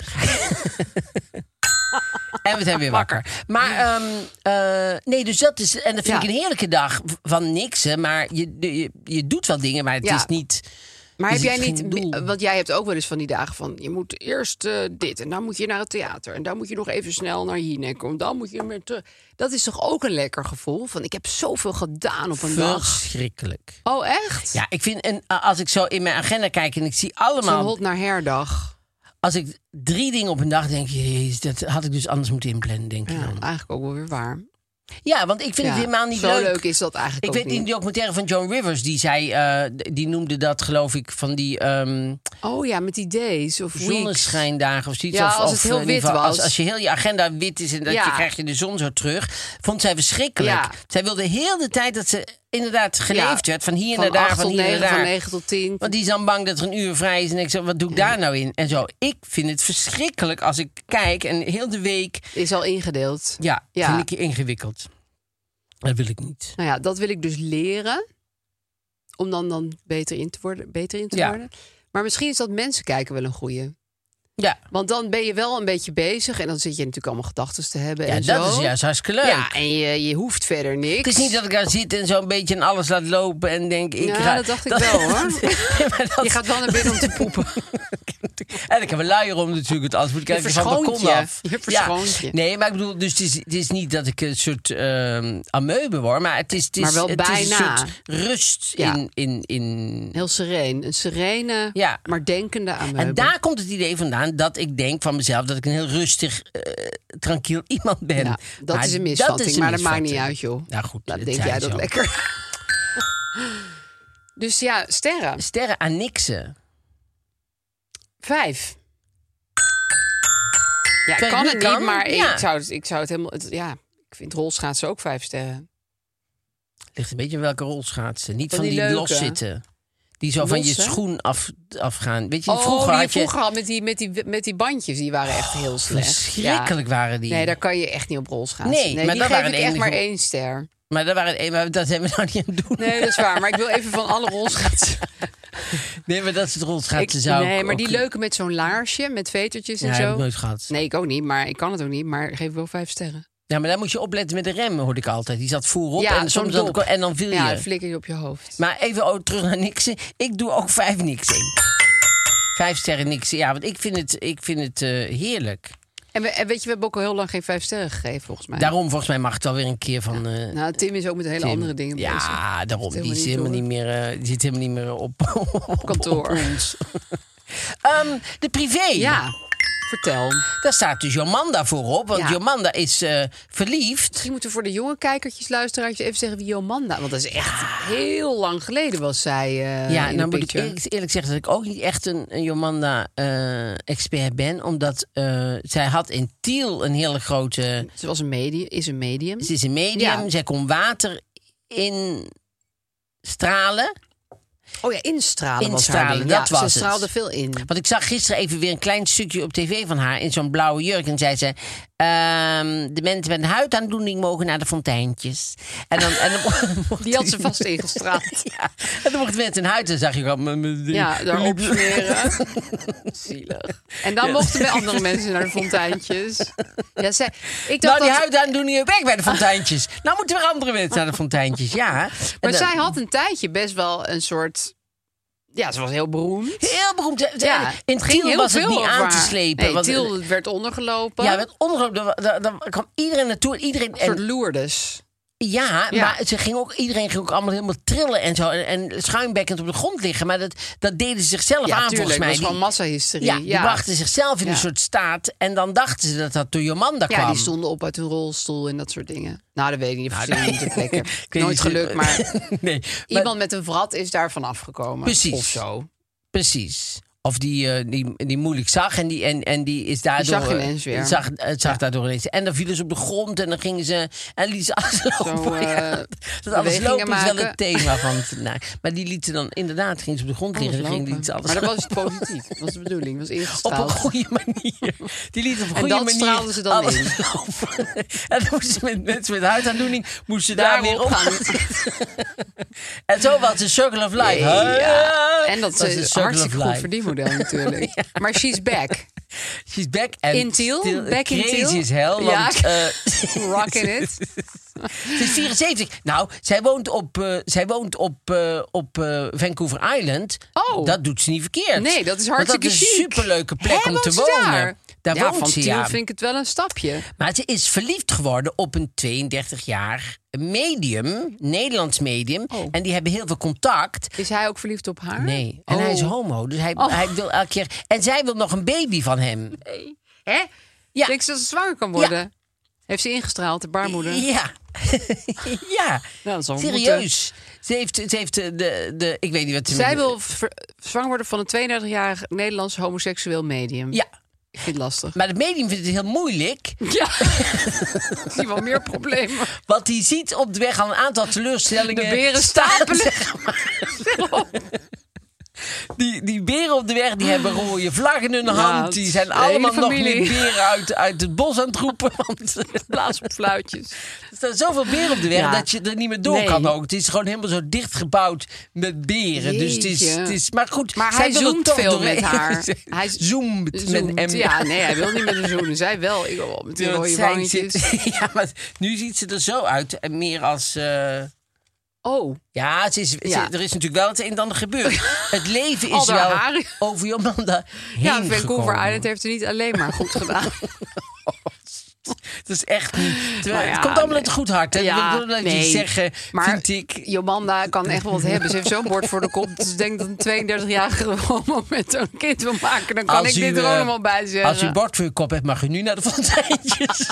B: En we zijn weer wakker. Maar ehm, eh, nee, dus dat is. En dat vind
A: Ja.
B: ik een heerlijke dag v- van niks. Hè, maar je, je, je doet wel dingen, maar het
A: Ja.
B: is niet.
A: Maar
B: Is
A: heb jij
B: het geen
A: niet,
B: doel?
A: want jij hebt ook wel eens van die dagen van je moet eerst eh, dit en dan moet je naar het theater en dan moet je nog even snel naar Jinek en dan moet je weer terug. Dat is toch ook een lekker gevoel van ik heb zoveel gedaan op een dag.
B: Verschrikkelijk.
A: Oh echt?
B: Ja, ik vind. En a- als ik zo in mijn agenda kijk en ik zie
A: Zo'n
B: allemaal.
A: hot naar herdag.
B: Als ik drie dingen op een dag denk, jezus, dat had ik dus anders moeten inplannen, denk ik
A: Ja,
B: dan.
A: eigenlijk ook wel weer waar.
B: Ja, want ik vind
A: Ja,
B: het helemaal niet
A: zo
B: leuk.
A: leuk is dat eigenlijk
B: Ik
A: ook
B: weet in
A: niet.
B: die documentaire van Joan Rivers, die zei, eh, d- die noemde dat geloof ik van die ehm
A: Oh ja, met die days of weeks.
B: zonneschijndagen of zoiets.
A: Ja,
B: of,
A: als
B: of
A: het heel
B: in ieder
A: wit
B: geval, Als,
A: was.
B: als je heel je agenda wit is en dat
A: Ja.
B: je krijg je de zon zo terug, vond zij verschrikkelijk.
A: Ja.
B: Zij wilde heel de tijd dat ze inderdaad geleefd
A: Ja,
B: werd van hier
A: van
B: naar daar,
A: acht
B: van
A: tot
B: hier naar
A: negen,
B: daar.
A: van negen tot tien.
B: Want die is dan bang dat er een uur vrij is. En ik zeg, wat doe ik daar nou in? En zo, ik vind het verschrikkelijk als ik kijk en heel de week...
A: Is al ingedeeld.
B: Ja,
A: Ja.
B: vind ik ingewikkeld. Dat wil ik niet.
A: Nou ja, dat wil ik dus leren. Om dan, dan beter in te worden. Beter in te
B: Ja.
A: worden. Maar misschien is dat mensen kijken wel een goeie.
B: Ja,
A: Want dan ben je wel een beetje bezig. En dan zit je natuurlijk allemaal gedachten te hebben.
B: ja
A: en
B: dat
A: zo.
B: is juist hartstikke leuk.
A: Ja, en je, je hoeft verder niks.
B: Het is niet dat ik daar zit en zo'n beetje en alles laat lopen en denk ik
A: Ja,
B: ga...
A: dat dacht ik wel, hoor.
B: Nee, maar dat-
A: Je gaat wel naar binnen om te poepen.
B: en ik heb een luier om natuurlijk, want anders moet ik
A: Je
B: even van het
A: verschoont
B: balkon
A: je.
B: af.
A: Je verschoont je.
B: Nee, maar ik bedoel, dus het is, het is niet dat ik een soort ehm amoebe word, maar het is, het is,
A: Maar wel
B: het is
A: bijna.
B: een soort rust
A: Ja.
B: in... in, in
A: Heel sereen. Een serene,
B: Ja.
A: maar denkende aan
B: en daar komt het idee vandaan dat ik denk van mezelf dat ik een heel rustig, eh, tranquil iemand ben.
A: Ja, dat
B: Maar
A: is een misvatting, maar dat maakt niet uit, joh.
B: Nou goed,
A: Nou,
B: dat
A: denk
B: zei
A: jij dat
B: zo.
A: lekker. dus ja, sterren.
B: Sterren aan niksen.
A: Vijf. Ja, ik
B: Terwijl
A: kan
B: het
A: het
B: niet
A: niet,
B: kan,
A: maar
B: ja.
A: ik, zou het, ik zou het helemaal... het- ja, ik vind rolschaatsen ook vijf sterren.
B: Ligt een beetje in welke rol schaatsen. Niet van,
A: Van
B: die,
A: die leuke.
B: loszitten. Die zo van je
A: Losse?
B: schoen af, afgaan. Weet je,
A: Oh,
B: vroeger
A: die je
B: had je... Oh,
A: vroeger al met die, met, die, met die bandjes, die waren echt heel slecht.
B: verschrikkelijk
A: Ja.
B: waren die.
A: Nee, daar kan je echt niet op rolschaatsen.
B: Nee, maar
A: die
B: dat
A: geef
B: waren
A: ik
B: de
A: echt
B: enige-
A: maar één ster.
B: Maar dat, waren, maar dat hebben we nou niet aan het doen.
A: Nee, dat is waar. Maar ik wil even van alle rolschaatsen.
B: Nee, maar dat is het rolschaatsen
A: Ik-
B: zou
A: nee,
B: ik
A: maar
B: ook-
A: die leuke met zo'n laarsje, met vetertjes en
B: Ja,
A: zo.
B: heb ik nooit gehad.
A: Nee, ik ook niet, maar ik kan het ook niet. Maar ik geef wel vijf sterren.
B: Ja, maar daar moet je opletten met de rem, hoorde ik altijd. Die zat voorop
A: ja,
B: en,
A: zo'n
B: soms dan,
A: dop.
B: en dan viel je.
A: Ja, dan flikker je op je hoofd.
B: Maar even oh, terug naar niksen. Ik doe ook vijf niksen. Vijf sterren niksen. Ja, want ik vind het, ik vind het eh, heerlijk.
A: En, we, en weet je, we hebben ook al heel lang geen vijf sterren gegeven, volgens mij.
B: Daarom volgens mij mag het alweer een keer van... eh,
A: Nou, Tim is ook met hele
B: Tim.
A: andere dingen bezig.
B: Ja, daarom.
A: Zit
B: Die, is helemaal niet meer, eh, die zit helemaal niet meer op, op,
A: kantoor.
B: op ons. Ehm, de privé.
A: Ja, vertel.
B: Daar staat dus Jomanda voorop. Want
A: Ja.
B: Jomanda is eh, verliefd.
A: Misschien moeten we voor de jonge kijkertjes, luisteraars even zeggen wie Jomanda... Want dat is echt heel lang geleden was zij eh,
B: ja,
A: in
B: nou moet
A: de
B: ik
A: picture.
B: eerlijk, eerlijk zeggen dat ik ook niet echt een, een Jomanda-expert ben. Omdat eh, zij had in Tiel een hele grote...
A: Ze was een medium, is een medium.
B: Ze is een medium.
A: Ja.
B: Zij kon water in stralen.
A: Oh ja, instralen was haar
B: Instralen,
A: ding.
B: dat was
A: ja, ze
B: het.
A: straalde veel in.
B: Want ik zag gisteren even weer een klein stukje op tv van haar in zo'n blauwe jurk. En zei ze: ehm, De mensen met een huidaandoening mogen naar de fonteintjes. En dan, en dan mocht
A: Die had ze vast ingestraald.
B: Ja, en dan mochten mensen een huid. En zag je gewoon. mijn- mijn-
A: Ja, daar
B: liep-
A: opsmeren. Zielig. En dan mochten we andere mensen naar de fonteintjes. Ja, zij, ik dacht
B: Nou, die
A: dat,
B: huidaandoeningen weg bij de fonteintjes. Nou moeten weer andere mensen naar de fonteintjes. Ja. En
A: maar
B: dan-
A: zij had een tijdje best wel een soort... Ja, ze was heel beroemd.
B: Heel beroemd.
A: Ja,
B: in
A: het ging
B: Tiel
A: heel
B: was het
A: veel
B: niet
A: over
B: aan te
A: haar.
B: slepen.
A: Nee,
B: want-
A: Tiel werd ondergelopen.
B: ja, met omroep, daar- daar daar kwam iedereen naartoe. en Iedereen,
A: Een soort
B: en
A: Lourdes.
B: Ja,
A: Ja.
B: maar ze ging ook, iedereen ging ook allemaal helemaal trillen en zo. En, en schuimbekkend op de grond liggen. Maar dat, dat deden ze zichzelf
A: Ja,
B: aan,
A: tuurlijk.
B: volgens
A: Het
B: mij.
A: was gewoon
B: Die-
A: massahysterie.
B: ja,
A: Ja,
B: die brachten zichzelf in een
A: Ja.
B: soort staat. En dan dachten ze dat dat door Jomanda kwam.
A: Ja, die stonden op uit hun rolstoel en dat soort dingen. Nou, dat weet ik niet. of ze
B: Nou,
A: niet op plekken.
B: Ik weet
A: Nooit
B: niet,
A: gelukt, maar
B: nee,
A: iemand met een vrat is daarvan afgekomen.
B: Precies.
A: Of zo.
B: Precies. Of die, eh, die, die moeilijk zag en die, en, en die is daardoor...
A: zag
B: eh,
A: ineens weer.
B: Zag, eh, zag daardoor ineens. En dan vielen ze op de grond en dan gingen ze... En lieten ze aflopen.
A: Zo, eh,
B: Ja, dat alles
A: bewegingen
B: lopen is wel
A: maken.
B: het thema van het nou, Maar die lieten dan inderdaad... Gingen ze op de grond liggen en gingen lieten ze alles
A: Maar dat
B: lopen.
A: was positief. Dat was de bedoeling. Dat was
B: op een
A: ingestraald.
B: goede manier. Die lieten op een
A: En
B: goede
A: dat
B: manier
A: straalden ze dan
B: alles
A: in.
B: lopen. En dan moesten ze met mensen met huidaandoening moesten daar,
A: Daar
B: weer
A: op
B: op
A: gaan.
B: En zo was de circle of life.
A: Ja. En dat
B: de
A: is
B: circle
A: een
B: of
A: hartstikke goed
B: life.
A: verdienmodel natuurlijk. Maar she's back.
B: She's back and
A: In Tiel?
B: still
A: Back in
B: crazy
A: Tiel?
B: as hell.
A: Ja.
B: Want, eh,
A: Rocking it.
B: ze is 74. Nou, zij woont op, eh, zij woont op, eh, op eh, Vancouver Island.
A: Oh.
B: Dat doet ze niet verkeerd.
A: Nee, dat is
B: Want
A: hartstikke
B: dat is een
A: chic.
B: superleuke plek
A: Hè,
B: om te
A: woont ze
B: wonen.
A: Daar,
B: Daar
A: ja,
B: woont
A: van
B: ze,
A: Tiel
B: ja.
A: vind ik het wel een stapje.
B: Maar ze is verliefd geworden op een 32-jaar medium, Nederlands medium.
A: Oh.
B: En die hebben heel veel contact.
A: Is hij ook verliefd op haar?
B: Nee, en hij is
A: Oh.
B: homo. Dus hij, hij wil elke keer. En zij wil nog een baby van hem.
A: Hè?
B: Ja.
A: Denk je dat ze zwanger kan worden? Heeft ze ingestraald, de baarmoeder?
B: Ja. ja.
A: Nou, dat zal moeten.
B: Serieus. Ze heeft, ze heeft eh, de, de... Ik weet niet wat ze...
A: Zij wil ver- zwanger worden van een 32-jarig Nederlands homoseksueel medium.
B: Ja.
A: Ik vind het lastig.
B: Maar het medium vindt het heel moeilijk.
A: Ja. Ik zie wel meer problemen.
B: Want die ziet op de weg al een aantal teleurstellingen.
A: De beren stapelen.
B: zeg maar. Die, die beren op de weg die hebben rode vlaggen in hun
A: Ja,
B: hand.
A: het
B: Die
A: is
B: zijn
A: de hele
B: allemaal nog
A: familie.
B: niet beren uit, uit het bos aan het roepen. Want
A: Blaas op fluitjes.
B: er staan zoveel beren op de weg
A: Ja.
B: dat je er niet meer door
A: Nee.
B: kan ook. Het is gewoon helemaal zo dicht gebouwd met beren. Dus het is,
A: Jeetje.
B: het is... Maar goed,
A: Maar
B: zij
A: hij
B: wil er
A: zoomt
B: toch
A: veel
B: doorheen.
A: met haar. Hij z-
B: zoomt, met
A: Zoent.
B: M.
A: Ja, nee, hij wil niet met haar zoenen. Zij wel. Ik wil met die
B: Want
A: rode
B: zij
A: wangetjes.
B: zit- ja, maar nu ziet ze er zo uit. en Meer als... eh,
A: Oh,
B: Ja, het is, het-
A: Ja.
B: er is natuurlijk wel het een en ander gebeurd. het leven
A: Al
B: is
A: haar
B: wel
A: haren.
B: over Jolanda heen
A: ja, Vancouver
B: gekomen.
A: Island heeft het niet alleen maar goed gedaan.
B: Het is echt niet... terwijl-
A: Nou
B: het
A: ja,
B: komt allemaal
A: nee.
B: uit een goed hart. Hè?
A: Ja,
B: ik wil dat
A: nee.
B: niet zeggen,
A: Maar
B: vind ik...
A: Jomanda kan echt wel wat hebben. Ze heeft zo'n bord voor de kop. Dus ik denk dat een 32-jarige homo met zo'n kind wil maken. Dan kan ik dit er
B: eh,
A: ook nog wel bij zeggen.
B: Als u een bord voor uw kop hebt, mag u nu naar de fonteintjes.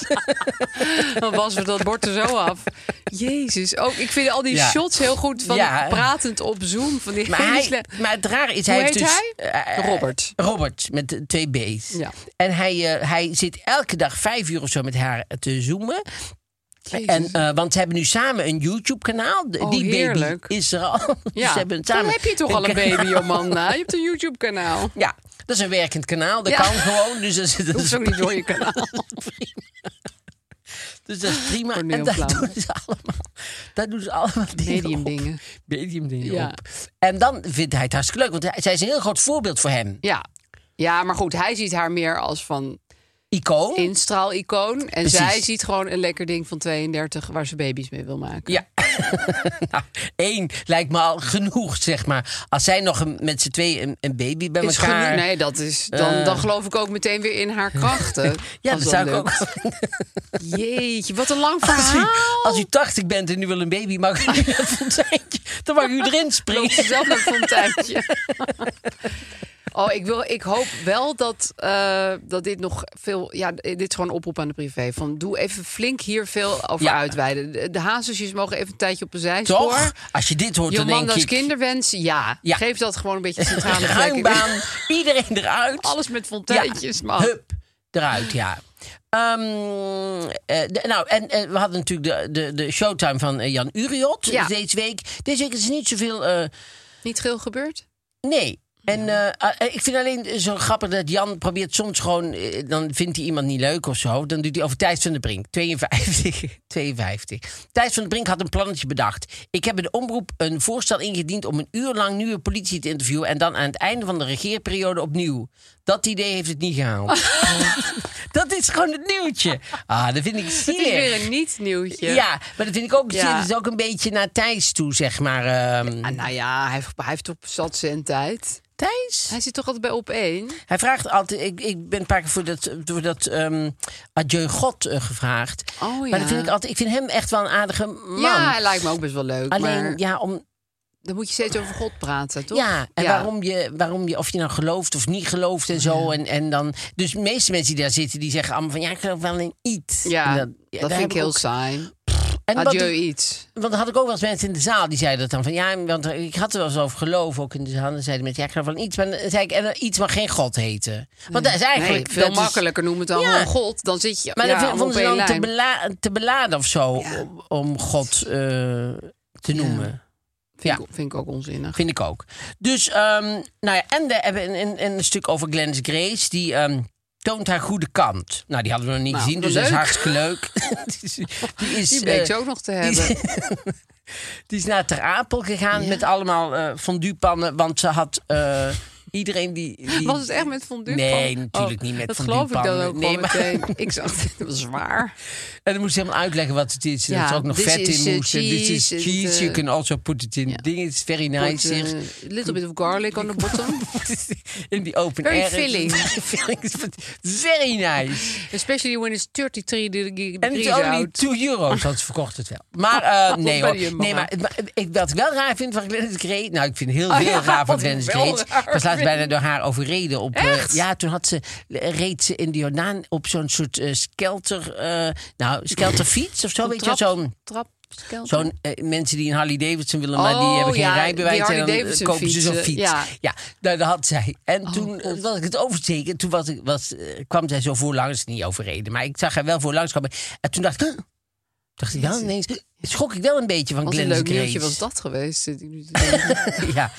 A: Dan wassen we dat bord er zo af. Jezus, ook ik vind al die
B: Ja.
A: shots heel goed van
B: Ja.
A: pratend op Zoom. Van die
B: maar,
A: hele
B: hij,
A: sle-
B: maar het rare is,
A: Hoe
B: hij heeft
A: heet
B: dus...
A: hij?
B: eh,
A: Robert.
B: Robert, met de twee B's.
A: Ja.
B: En hij, eh, hij zit elke dag vijf uur of zo met haar te zoomen.
A: Jezus.
B: En, eh, want ze hebben nu samen een YouTube-kanaal. De-
A: Oh,
B: die
A: heerlijk.
B: baby is er al. Dus
A: ja.
B: ze hebben
A: Dan
B: samen
A: heb je toch al een baby, Jomanda. Je hebt een YouTube-kanaal.
B: Ja, dat is een werkend kanaal. Dat
A: Ja.
B: kan gewoon. Dus dat, is- dat
A: Dat
B: is,
A: is ook niet door je kanaal.
B: dus dat is prima.
A: Corneel
B: En daar
A: Vlammen.
B: doen ze allemaal, daar doen ze allemaal dingen
A: Medium
B: op.
A: dingen.
B: Medium dingen
A: Ja.
B: op. En dan vindt hij het hartstikke leuk. Want hij- zij is een heel groot voorbeeld voor hem.
A: Ja. ja, maar goed, hij ziet haar meer als van
B: Icoon.
A: instraal-icoon. En
B: Precies.
A: zij ziet gewoon een lekker ding van 32 waar ze baby's mee wil maken.
B: Ja. nou, één lijkt me al genoeg, zeg maar. Als zij nog een, met z'n twee een, een baby bij
A: Is
B: elkaar...
A: genoeg. Nee, dat is, dan,
B: Eh.
A: dan geloof ik ook meteen weer in haar krachten.
B: ja,
A: Als
B: dat zou ik
A: lukt.
B: ook...
A: Jeetje, wat een lang
B: Als u,
A: verhaal.
B: als u 80 bent en u wil een baby, mag u in het fonteintje. Dan mag u erin
A: Loopt
B: springen.
A: ze zelf naar het fonteintje. Oh, ik, wil, ik hoop wel dat, eh, dat dit nog veel... Ja, dit is gewoon een oproep aan de privé. Van, doe even flink hier veel over
B: Ja.
A: uitweiden. De, de haansusjes mogen even een tijdje op een zijspoor.
B: Toch? Als je dit hoort, dan denk
A: Jomanda's
B: ik...
A: kinderwens, ja.
B: Ja.
A: Geef dat gewoon een beetje centrale plek.
B: Ruimbaan, iedereen eruit.
A: Alles met fonteintjes, man.
B: Hup, eruit, ja. Ehm, eh, de- nou, en eh, we hadden natuurlijk de, de, de showtime van eh, Jan Uriot
A: Ja.
B: deze week. Deze week is niet zoveel... eh,
A: Niet geel gebeurd?
B: nee. En eh, ah, eh, ik vind alleen zo grappig dat Jan probeert soms gewoon... eh, dan vindt hij iemand niet leuk of zo. Dan doet hij over Thijs van der Brink. 52. 52. Thijs van der Brink had een plannetje bedacht. Ik heb bij de omroep een voorstel ingediend... om een uur lang nieuwe politie te interviewen... en dan aan het einde van de regeerperiode opnieuw. Dat idee heeft het niet gehaald. Dat is gewoon het nieuwtje. Ah, dat vind ik
A: Het is
B: zielig.
A: weer een niet-nieuwtje.
B: Ja, maar dat vind ik ook
A: Ja.
B: zielig. Het is ook een beetje naar Thijs toe, zeg maar. ehm.
A: Ah, nou ja, hij heeft, hij heeft op zat zijn tijd.
B: Thijs?
A: Hij zit toch altijd bij op één?
B: Hij vraagt altijd... Ik, ik ben een paar keer voor dat, voor dat ehm, adieu God eh, gevraagd.
A: Oh, ja.
B: Maar dat vind ik, altijd, ik vind hem echt wel een aardige man.
A: Ja, hij lijkt me ook best wel leuk.
B: Alleen,
A: maar
B: ja, om,
A: dan moet je steeds over God praten, toch?
B: ja, en Waarom, je, waarom je, of je nou gelooft of niet gelooft en zo. En, en dan, dus de meeste mensen die daar zitten, die zeggen allemaal van... Ja, ik geloof wel in iets.
A: Ja,
B: En
A: dat,
B: ja, daar
A: vind
B: heb
A: ik heel
B: ook-
A: saai.
B: en wat-
A: Adieu iets.
B: Want dan had ik ook wel eens mensen in de zaal die zeiden dat dan van ja, want ik had er wel eens over geloof ook in de zaal. Dan zeiden mensen ja, ik geloof van iets, maar dan zei ik en dan iets mag geen God heten. Want dat is
A: Nee,
B: eigenlijk
A: veel
B: dat is-
A: makkelijker noem het dan
B: Ja.
A: gewoon God. Dan zit je
B: maar
A: ja,
B: dat
A: allemaal
B: vonden
A: op
B: ze
A: één
B: dan te,
A: lijn.
B: bela- te beladen of zo
A: Ja.
B: om, om God eh, te noemen.
A: Vind,
B: ja.
A: ik, vind ik ook onzinnig.
B: Vind ik ook. Dus, ehm, nou ja, en we hebben een, een, een stuk over Glennis Grace. Die ehm, toont haar goede kant. Nou, die hadden we nog niet
A: Nou,
B: gezien,
A: wat
B: dus dat is
A: leuk.
B: hartstikke leuk. die is, die is,
A: Die bleek
B: eh,
A: ze ook nog te hebben.
B: Die is naar Ter Apel gegaan met allemaal eh fonduepannen. Want ze had eh, iedereen die, die-
A: Was het echt met fondue?
B: Nee, natuurlijk niet met
A: Oh, Dat
B: fonduepannen.
A: geloof ik dan ook
B: nee,
A: gewoon
B: maar,
A: meteen. Ik zag dit was zwaar.
B: En dan moest ze helemaal uitleggen wat het is. en
A: Ja,
B: dat ze ook nog
A: this
B: vet
A: is,
B: in
A: eh,
B: moest. en Dit is
A: cheese and,
B: cheese.
A: eh,
B: you can also put it in
A: ja.
B: dingen. It's very
A: Put,
B: nice
A: eh,
B: here.
A: little bit of garlic on the bottom.
B: in the open
A: Very
B: air.
A: filling.
B: Filling is- very nice.
A: Especially when it's 33 degrees
B: En het is only
A: out.
B: 2 euro's, want ze verkocht het wel. Maar eh, nee
A: Oh, Bij
B: hoor.
A: de Jumbo.
B: Nee, maar, het- maar ik, wat ik wel raar vind van Glennis Grace... Nou, ik vind heel veel
A: Oh ja,
B: raar van
A: wat
B: Glennis
A: wel
B: Grace.
A: raar.
B: Ik was laatst was bijna door haar overreden. Op, eh,
A: Echt?
B: ja, toen had ze, eh, reed ze in de Jordaan op zo'n soort eh, skelter... eh, nou, skelterfiets of zo, weet je wel, Zo'n...
A: trap, skelter.
B: Zo'n eh, mensen die een Harley Davidson willen, maar die
A: Oh,
B: hebben geen
A: ja,
B: rijbewijs.
A: die
B: en dan
A: Harley
B: eh,
A: Davidson
B: kopen ze zo'n
A: fietsen,
B: fiets. Ja,
A: ja. Oh,
B: nou, dat had zij. En toen eh,
A: God.
B: was ik het oversteken. Toen was ik, was, eh, kwam zij zo voorlangs, niet overreden. Maar ik zag haar wel voorlangs komen. En toen dacht ik... huh? Dacht ik, ja, ineens schrok ik wel een beetje van
A: Wat een
B: Glennis
A: leuk nieuwtje
B: Grace.
A: was dat geweest. zit ik nu te denken.
B: ja,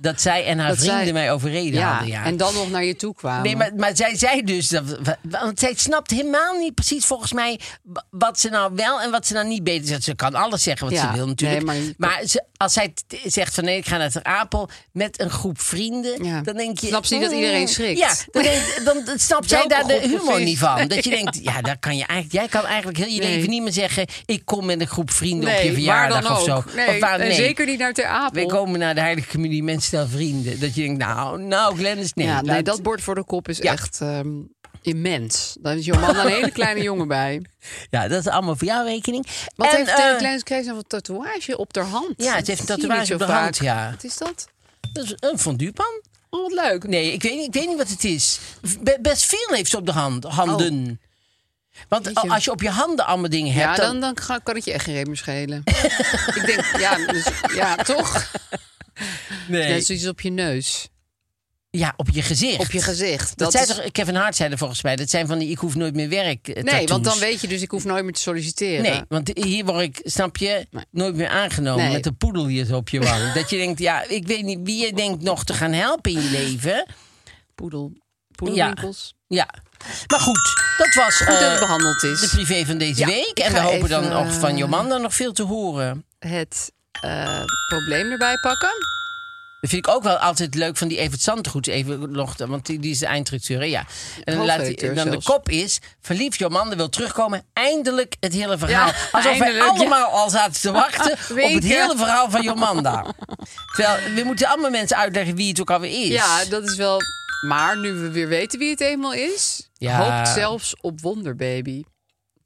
B: dat zij en haar
A: Dat zij-
B: vrienden mij overreden hadden. Ja.
A: en dan nog naar je toe kwamen.
B: Nee, maar, maar zij zei dus, dat, wa- want zij snapt helemaal niet precies volgens mij wa- wat ze nou wel en wat ze nou niet beter zegt. Ze kan alles zeggen wat
A: Ja,
B: ze wil natuurlijk.
A: nee,
B: maar
A: maar-
B: ze- als zij t- zegt van nee, ik ga naar Ter Apel met een groep vrienden,
A: Ja.
B: dan denk je... "Hmm,
A: Snap ze niet dat iedereen schrikt?
B: Ja, dan, denk- dan, dan snapt zij
A: Welke
B: daar de
A: groep
B: humor
A: precies?
B: niet van. Dat je denkt, ja, daar kan je eigenlijk, jij kan eigenlijk heel je
A: Nee.
B: leven niet meer zeggen, ik kom met een groep vrienden op
A: Nee,
B: je verjaardag
A: waar dan
B: of zo.
A: ook. Nee,
B: Of waar-
A: en zeker niet naar Ter Apel.
B: We komen naar de Heilige Communie, mensen stel vrienden. Dat je denkt, nou, nou, Glennis, nee.
A: ja, nee,
B: laat-
A: dat bord voor de kop is
B: Ja.
A: echt ehm, immens. Daar is je man een hele kleine jongen bij.
B: Ja, dat is allemaal voor jouw rekening.
A: Wat
B: En,
A: heeft
B: eh,
A: Taylor Kleins Grace nou voor tatoeage op haar hand?
B: Ja, het heeft een
A: Dat zie je
B: tatoeage
A: niet zo
B: op haar
A: vaak.
B: hand, ja.
A: Wat is dat?
B: dat is een fonduepan?
A: Oh, wat leuk.
B: Nee, ik weet, niet- ik weet niet wat het is. Be- best veel heeft ze op de hand, handen. Want
A: Oh. Jeetje.
B: als je op je handen allemaal dingen hebt...
A: Ja, dan, dan ga- kan het je echt geen reet meer schelen. ik denk, ja, dus, ja toch?
B: nee.
A: Net zoiets op je neus.
B: Ja, op je gezicht.
A: Op je gezicht.
B: Dat
A: Dat
B: zei
A: is-
B: toch, Kevin Hart zei er volgens mij, dat zijn van die ik hoef nooit meer werk eh,
A: Nee, want dan
B: tattoos.
A: weet je dus, ik hoef nooit meer te solliciteren.
B: Nee, want hier word ik, snap je,
A: Nee.
B: nooit meer aangenomen
A: Nee.
B: met de poedel hier zo op je wang. dat je denkt, ja, ik weet niet wie je denkt nog te gaan helpen in je leven.
A: Poedel, poedelwinkels.
B: Ja. Maar goed, dat was
A: Goed dat
B: eh,
A: het behandeld
B: de
A: is.
B: privé van deze
A: Ja,
B: week.
A: ik
B: En we
A: ga
B: hopen
A: even,
B: dan nog van
A: eh,
B: Jomanda nog veel te horen.
A: Het eh, probleem erbij pakken.
B: Dat vind ik ook wel altijd leuk van die Evert Zandgoed. Even nog, want die, die is de eindredacteur. hè? Ja. En dan, laat hij-
A: Hoofdredacteur
B: dan de
A: zelfs.
B: kop is... Verliefd Jomanda wil terugkomen. Eindelijk het hele verhaal.
A: Ja,
B: Alsof wij
A: eindelijk, ja.
B: allemaal al zaten te wachten op het
A: Weken.
B: hele verhaal van Jomanda. Terwijl we moeten allemaal mensen uitleggen wie het ook alweer is.
A: Ja, dat is wel... Maar nu we weer weten wie het eenmaal is...
B: Ja.
A: hoopt zelfs op Wonderbaby. Ik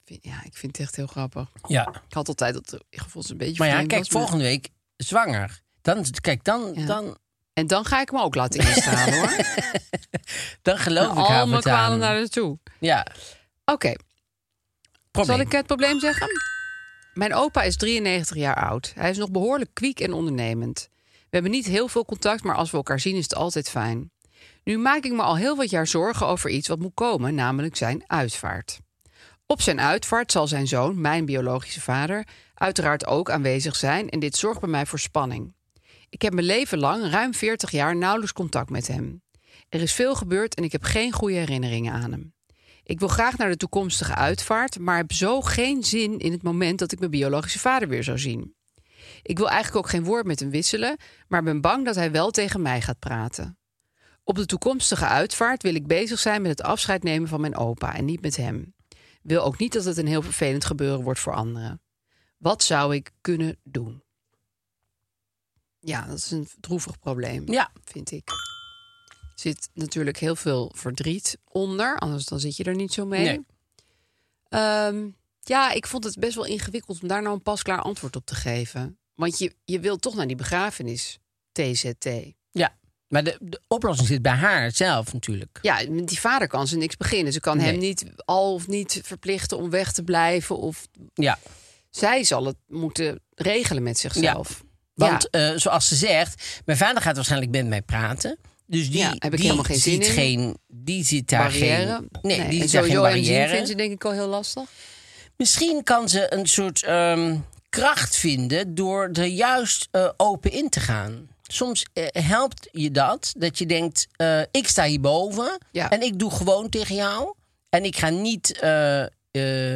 A: vind- Ja, ik vind het echt heel grappig.
B: ja.
A: Ik had altijd dat eh, gevoel het een beetje
B: Maar ja,
A: vreemd
B: kijk,
A: was, maar-
B: volgende week zwanger. Dan, kijk, dan,
A: Ja.
B: dan,
A: En dan ga ik me ook laten instaan, hoor.
B: dan geloof ik haar
A: Al mijn
B: meteen.
A: kwalen naar naartoe.
B: Ja,
A: Oké,
B: probleem.
A: zal ik het probleem zeggen? Mijn opa is 93 jaar oud. Hij is nog behoorlijk kwiek en ondernemend. We hebben niet heel veel contact, maar als we elkaar zien is het altijd fijn. Nu maak ik me al heel wat jaar zorgen over iets wat moet komen, namelijk zijn uitvaart. Op zijn uitvaart zal zijn zoon, mijn biologische vader, uiteraard ook aanwezig zijn en dit zorgt bij mij voor spanning. Ik heb mijn leven lang, ruim 40 jaar, nauwelijks contact met hem. Er is veel gebeurd en ik heb geen goede herinneringen aan hem. Ik wil graag naar de toekomstige uitvaart, maar heb zo geen zin in het moment dat ik mijn biologische vader weer zou zien. Ik wil eigenlijk ook geen woord met hem wisselen, maar ben bang dat hij wel tegen mij gaat praten. Op de toekomstige uitvaart wil ik bezig zijn met het afscheid nemen van mijn opa en niet met hem. Wil ook niet dat het een heel vervelend gebeuren wordt voor anderen. Wat zou ik kunnen doen? Ja, dat is een droevig probleem
B: Ja.
A: vind ik. Zit natuurlijk heel veel verdriet onder, anders dan zit je er niet zo mee.
B: Nee.
A: Ehm, ja, ik vond het best wel ingewikkeld om daar nou een pasklaar antwoord op te geven. Want je, je wilt toch naar die begrafenis, TZT.
B: Ja, maar de, de oplossing zit bij haar zelf natuurlijk.
A: Ja, met die vader kan ze niks beginnen. Ze kan
B: Nee.
A: hem niet al of niet verplichten om weg te blijven. Of
B: Ja,
A: zij zal het moeten regelen met zichzelf. Ja,
B: want eh, zoals ze zegt, mijn vader gaat waarschijnlijk met mij praten. Dus die,
A: Ja, heb ik
B: die
A: helemaal geen zin
B: ziet
A: in.
B: geen, die zit daar
A: barrière.
B: geen, nee, die
A: en
B: zit daar geen
A: sowieso hem zien
B: barrière.
A: vindt ze denk ik al heel lastig.
B: Misschien kan ze een soort ehm, kracht vinden door er juist eh, open in te gaan. Soms eh, helpt je dat, dat je denkt, eh, ik sta hierboven
A: Ja.
B: en ik doe gewoon tegen jou. En ik ga niet eh,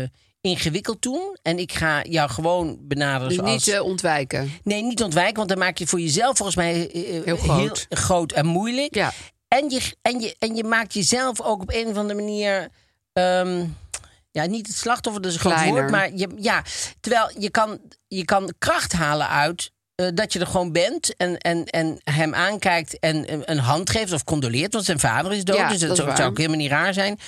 B: eh, ingewikkeld doen en ik ga jou gewoon benaderen
A: Dus
B: zoals...
A: niet eh, ontwijken.
B: Nee, niet ontwijken, want dan maak je het voor jezelf volgens mij eh, heel,
A: groot.
B: groot en moeilijk.
A: Ja.
B: En, je, en, je, en je maakt jezelf ook op een of andere manier. ehm, ja, niet het slachtoffer, dat is een groot
A: Kleiner.
B: woord. Maar je, ja, terwijl je kan, je kan kracht halen uit eh, dat je er gewoon bent en, en, en hem aankijkt en een- een hand geeft of condoleert, want zijn vader is dood.
A: Ja,
B: dus
A: dat
B: dat
A: is
B: zou,
A: waar.
B: zou ook helemaal niet raar zijn.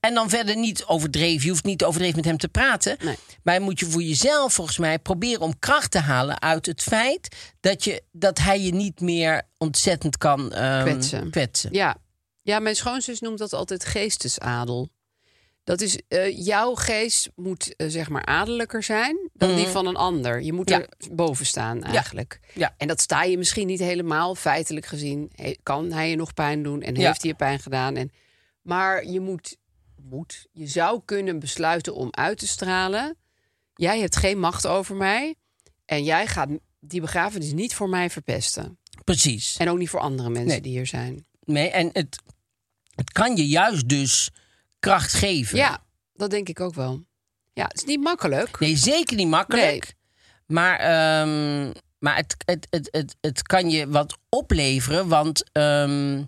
B: En dan verder niet overdreven. Je hoeft niet overdreven met hem te praten.
A: Nee.
B: Maar moet je voor jezelf volgens mij proberen om kracht te halen uit het feit dat, je, dat hij je niet meer ontzettend kan ehm,
A: Kwetsen.
B: kwetsen.
A: Ja. ja, mijn schoonzus noemt dat altijd geestesadel. Dat is, eh, jouw geest moet eh, zeg maar adellijker zijn dan die van een ander. Je moet
B: Mhm. Ja.
A: er boven staan eigenlijk.
B: Ja.
A: En dat sta je misschien niet helemaal feitelijk gezien. He- Kan hij je nog pijn doen en
B: Ja.
A: heeft hij je pijn gedaan? En, maar je moet, moet, je zou kunnen besluiten om uit te stralen. Jij hebt geen macht over mij en jij gaat die begrafenis niet voor mij verpesten.
B: Precies.
A: En ook niet voor andere mensen
B: Nee.
A: die hier zijn.
B: Nee, en het, het kan je juist dus kracht geven.
A: Ja, dat denk ik ook wel. Ja, het is niet makkelijk.
B: Nee, zeker niet makkelijk. Maar, ehm, maar het, het, het, het, het kan je wat opleveren. Want, ehm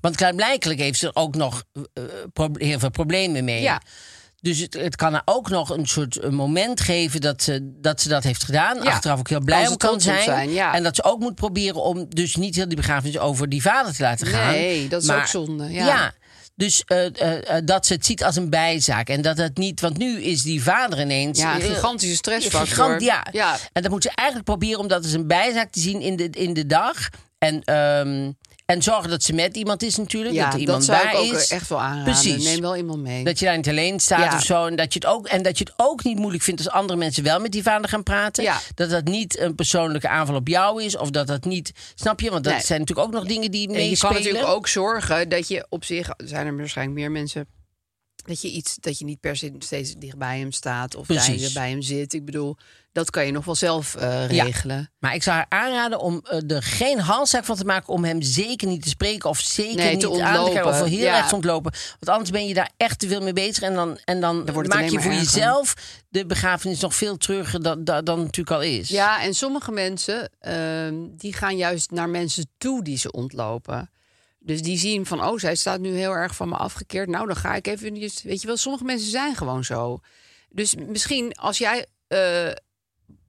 B: want klaarblijkelijk heeft ze er ook nog eh, prob- heel veel problemen mee.
A: Ja,
B: Dus het, het kan haar ook nog een soort eh, moment geven dat ze dat, ze dat heeft gedaan.
A: Ja.
B: Achteraf ook heel
A: Kan
B: blij
A: ze
B: om kan
A: trots op
B: zijn.
A: zijn, ja.
B: En dat ze ook moet proberen om dus niet heel die begrafenis over die vader te laten gaan.
A: Nee, dat is ook zonde, ja.
B: Dus eh, eh, eh, dat ze het ziet als een bijzaak. En dat het niet... Want nu is die vader ineens...
A: ja een
B: heel-
A: gigantische stressfactor.
B: Gigant, ja.
A: ja.
B: En dat moet ze eigenlijk proberen om dat als een bijzaak te zien in de, in de dag. En, ehm, en zorgen dat ze met iemand is natuurlijk.
A: Ja,
B: dat er iemand
A: zou
B: bij
A: ik ook
B: is.
A: echt wel aanraden.
B: Precies.
A: Neem wel iemand mee.
B: Dat je daar niet alleen staat
A: Ja.
B: of zo. En dat, je het ook, en dat je het ook niet moeilijk vindt als andere mensen wel met die vader gaan praten.
A: Ja.
B: Dat dat niet een persoonlijke aanval op jou is. Of dat dat niet. Snap je? Want dat
A: Nee.
B: zijn natuurlijk ook nog dingen die
A: En je
B: meespelen.
A: kan natuurlijk ook zorgen dat je op zich, zijn er waarschijnlijk meer mensen, dat je iets, dat je niet per se steeds dicht bij hem staat of
B: Precies.
A: bij, je- bij hem zit. Ik bedoel, dat kan je nog wel zelf eh,
B: Ja.
A: regelen.
B: Maar ik zou haar aanraden om eh, er geen halszaak van te maken. Om hem zeker niet te spreken. Of zeker
A: Nee, te
B: niet aan te kijken. Of
A: ontlopen.
B: heel
A: Ja.
B: erg te ontlopen. Want anders ben je daar echt te veel mee bezig. En dan, en dan,
A: wordt het
B: maak je
A: alleen
B: voor
A: maar erger.
B: jezelf de begrafenis nog veel treuriger dan, dan, dan het natuurlijk al is.
A: Ja, en sommige mensen ehm, die gaan juist naar mensen toe die ze ontlopen. Dus die zien van, oh, zij staat nu heel erg van me afgekeerd. Nou, dan ga ik even. Weet je wel, sommige mensen zijn gewoon zo. Dus misschien als jij eh,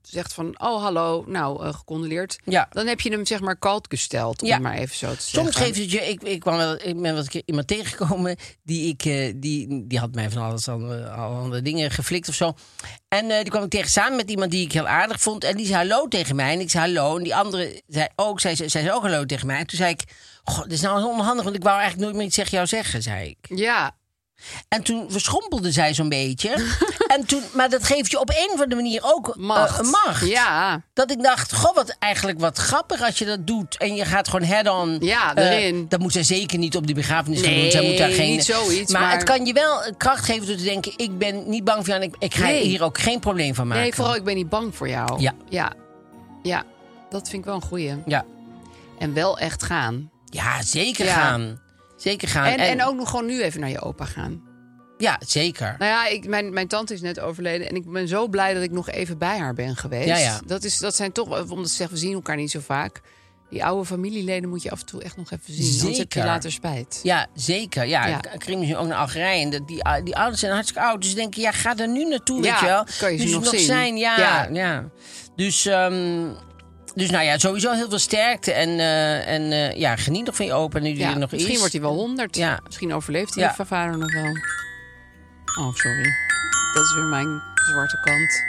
A: zegt van, oh, hallo, nou, eh, gecondoleerd.
B: Ja.
A: Dan heb je hem zeg maar koud gesteld, om
B: Ja.
A: het maar even zo te zeggen.
B: Soms geeft het je. Ik, ik, kwam wel, ik ben wel een keer iemand tegengekomen. Die, ik, eh, die, die had mij van alles aan andere dingen geflikt of zo. En eh, die kwam ik tegen samen met iemand die ik heel aardig vond. En die zei hallo tegen mij. En ik zei hallo. En die andere zei ook, zij, zij zei ook hallo tegen mij. En toen zei ik. Goh, dit is nou onhandig, want ik wou eigenlijk nooit meer iets tegen jou zeggen, zei ik.
A: Ja,
B: En toen verschrompelde zij zo'n beetje. en toen, maar dat geeft je op een of andere manier ook eh,
A: macht.
B: macht.
A: Ja,
B: Dat ik dacht, goh, wat eigenlijk wat grappig als je dat doet. En je gaat gewoon head-on.
A: Ja,
B: eh,
A: erin.
B: dat moet zij zeker niet op die begrafenis gaan
A: Nee,
B: doen. Zij moet daar geen,
A: niet zoiets,
B: Maar,
A: maar-
B: het kan je wel kracht geven door te denken... ik ben niet bang voor jou en ik, ik ga
A: Nee.
B: hier ook geen probleem van maken.
A: nee, vooral ik ben niet bang voor jou.
B: Ja.
A: Ja, ja. dat vind ik wel een goeie.
B: Ja,
A: En wel echt gaan.
B: ja zeker
A: Ja.
B: gaan. Zeker gaan.
A: En, en ook nog gewoon nu even naar je opa gaan.
B: Ja, zeker.
A: Nou ja, ik, mijn, mijn tante is net overleden. En ik ben zo blij dat ik nog even bij haar ben geweest.
B: Ja, ja.
A: Dat, is, dat zijn toch, wel- omdat ze zeggen, we zien elkaar niet zo vaak. Die oude familieleden moet je af en toe echt nog even zien. Anders heb je
B: Zeker.
A: later spijt.
B: Ja, zeker. Ja,
A: Ja.
B: ik- ik ging nu ook naar Algerije. En dat- die, ou- die ouders zijn hartstikke oud. Dus ze denken, ja, ga er nu naartoe,
A: Ja,
B: weet je wel.
A: kan je ze
B: dus
A: nog zien.
B: zijn, ja.
A: Ja.
B: ja. Dus, ehm, dus nou ja, sowieso heel veel sterkte. En, eh, en eh, ja, geniet nog van je opa nu die
A: Ja,
B: er nog
A: misschien
B: is.
A: wordt hij wel honderd.
B: Ja.
A: Misschien overleeft hij
B: Ja.
A: je vader nog wel. Oh, sorry. Dat is weer mijn zwarte kant.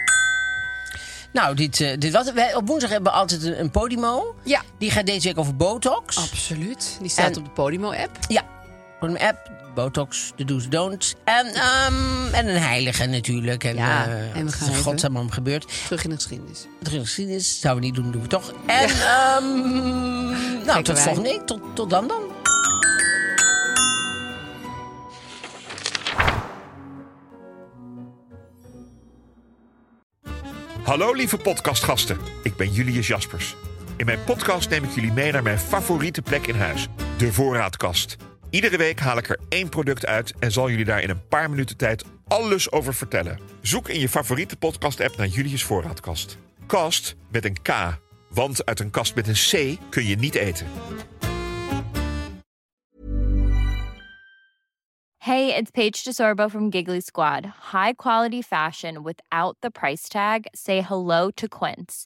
B: Nou, dit, eh, dit was het. Wij, op woensdag hebben we altijd een, een podimo.
A: Ja,
B: Die gaat deze week over botox.
A: absoluut. Die staat
B: En-
A: op de Podimo-app.
B: Ja, gewoon een app. Botox, de do's, don'ts. En, ehm, en een heilige natuurlijk. En,
A: Ja,
B: eh,
A: en
B: wat
A: we
B: is
A: gaan
B: er
A: even-
B: godsnaam allemaal gebeurd.
A: Terug in de geschiedenis.
B: terug in de geschiedenis. Zouden we niet doen, doen we toch. En, ehm nou,
A: wij.
B: tot volgende week. Tot, tot dan dan.
C: Hallo lieve podcastgasten, ik ben Julius Jaspers. In mijn podcast neem ik jullie mee naar mijn favoriete plek in huis, de voorraadkast. Iedere week haal ik er één product uit en zal jullie daar in een paar minuten tijd alles over vertellen. Zoek in je favoriete podcast-app naar Julius Voorraadkast. Kast met een K, want uit een kast met een C kun je niet eten.
D: Hey, it's Paige DeSorbo from Giggly Squad. High quality fashion without the price tag. Say hello to Quince.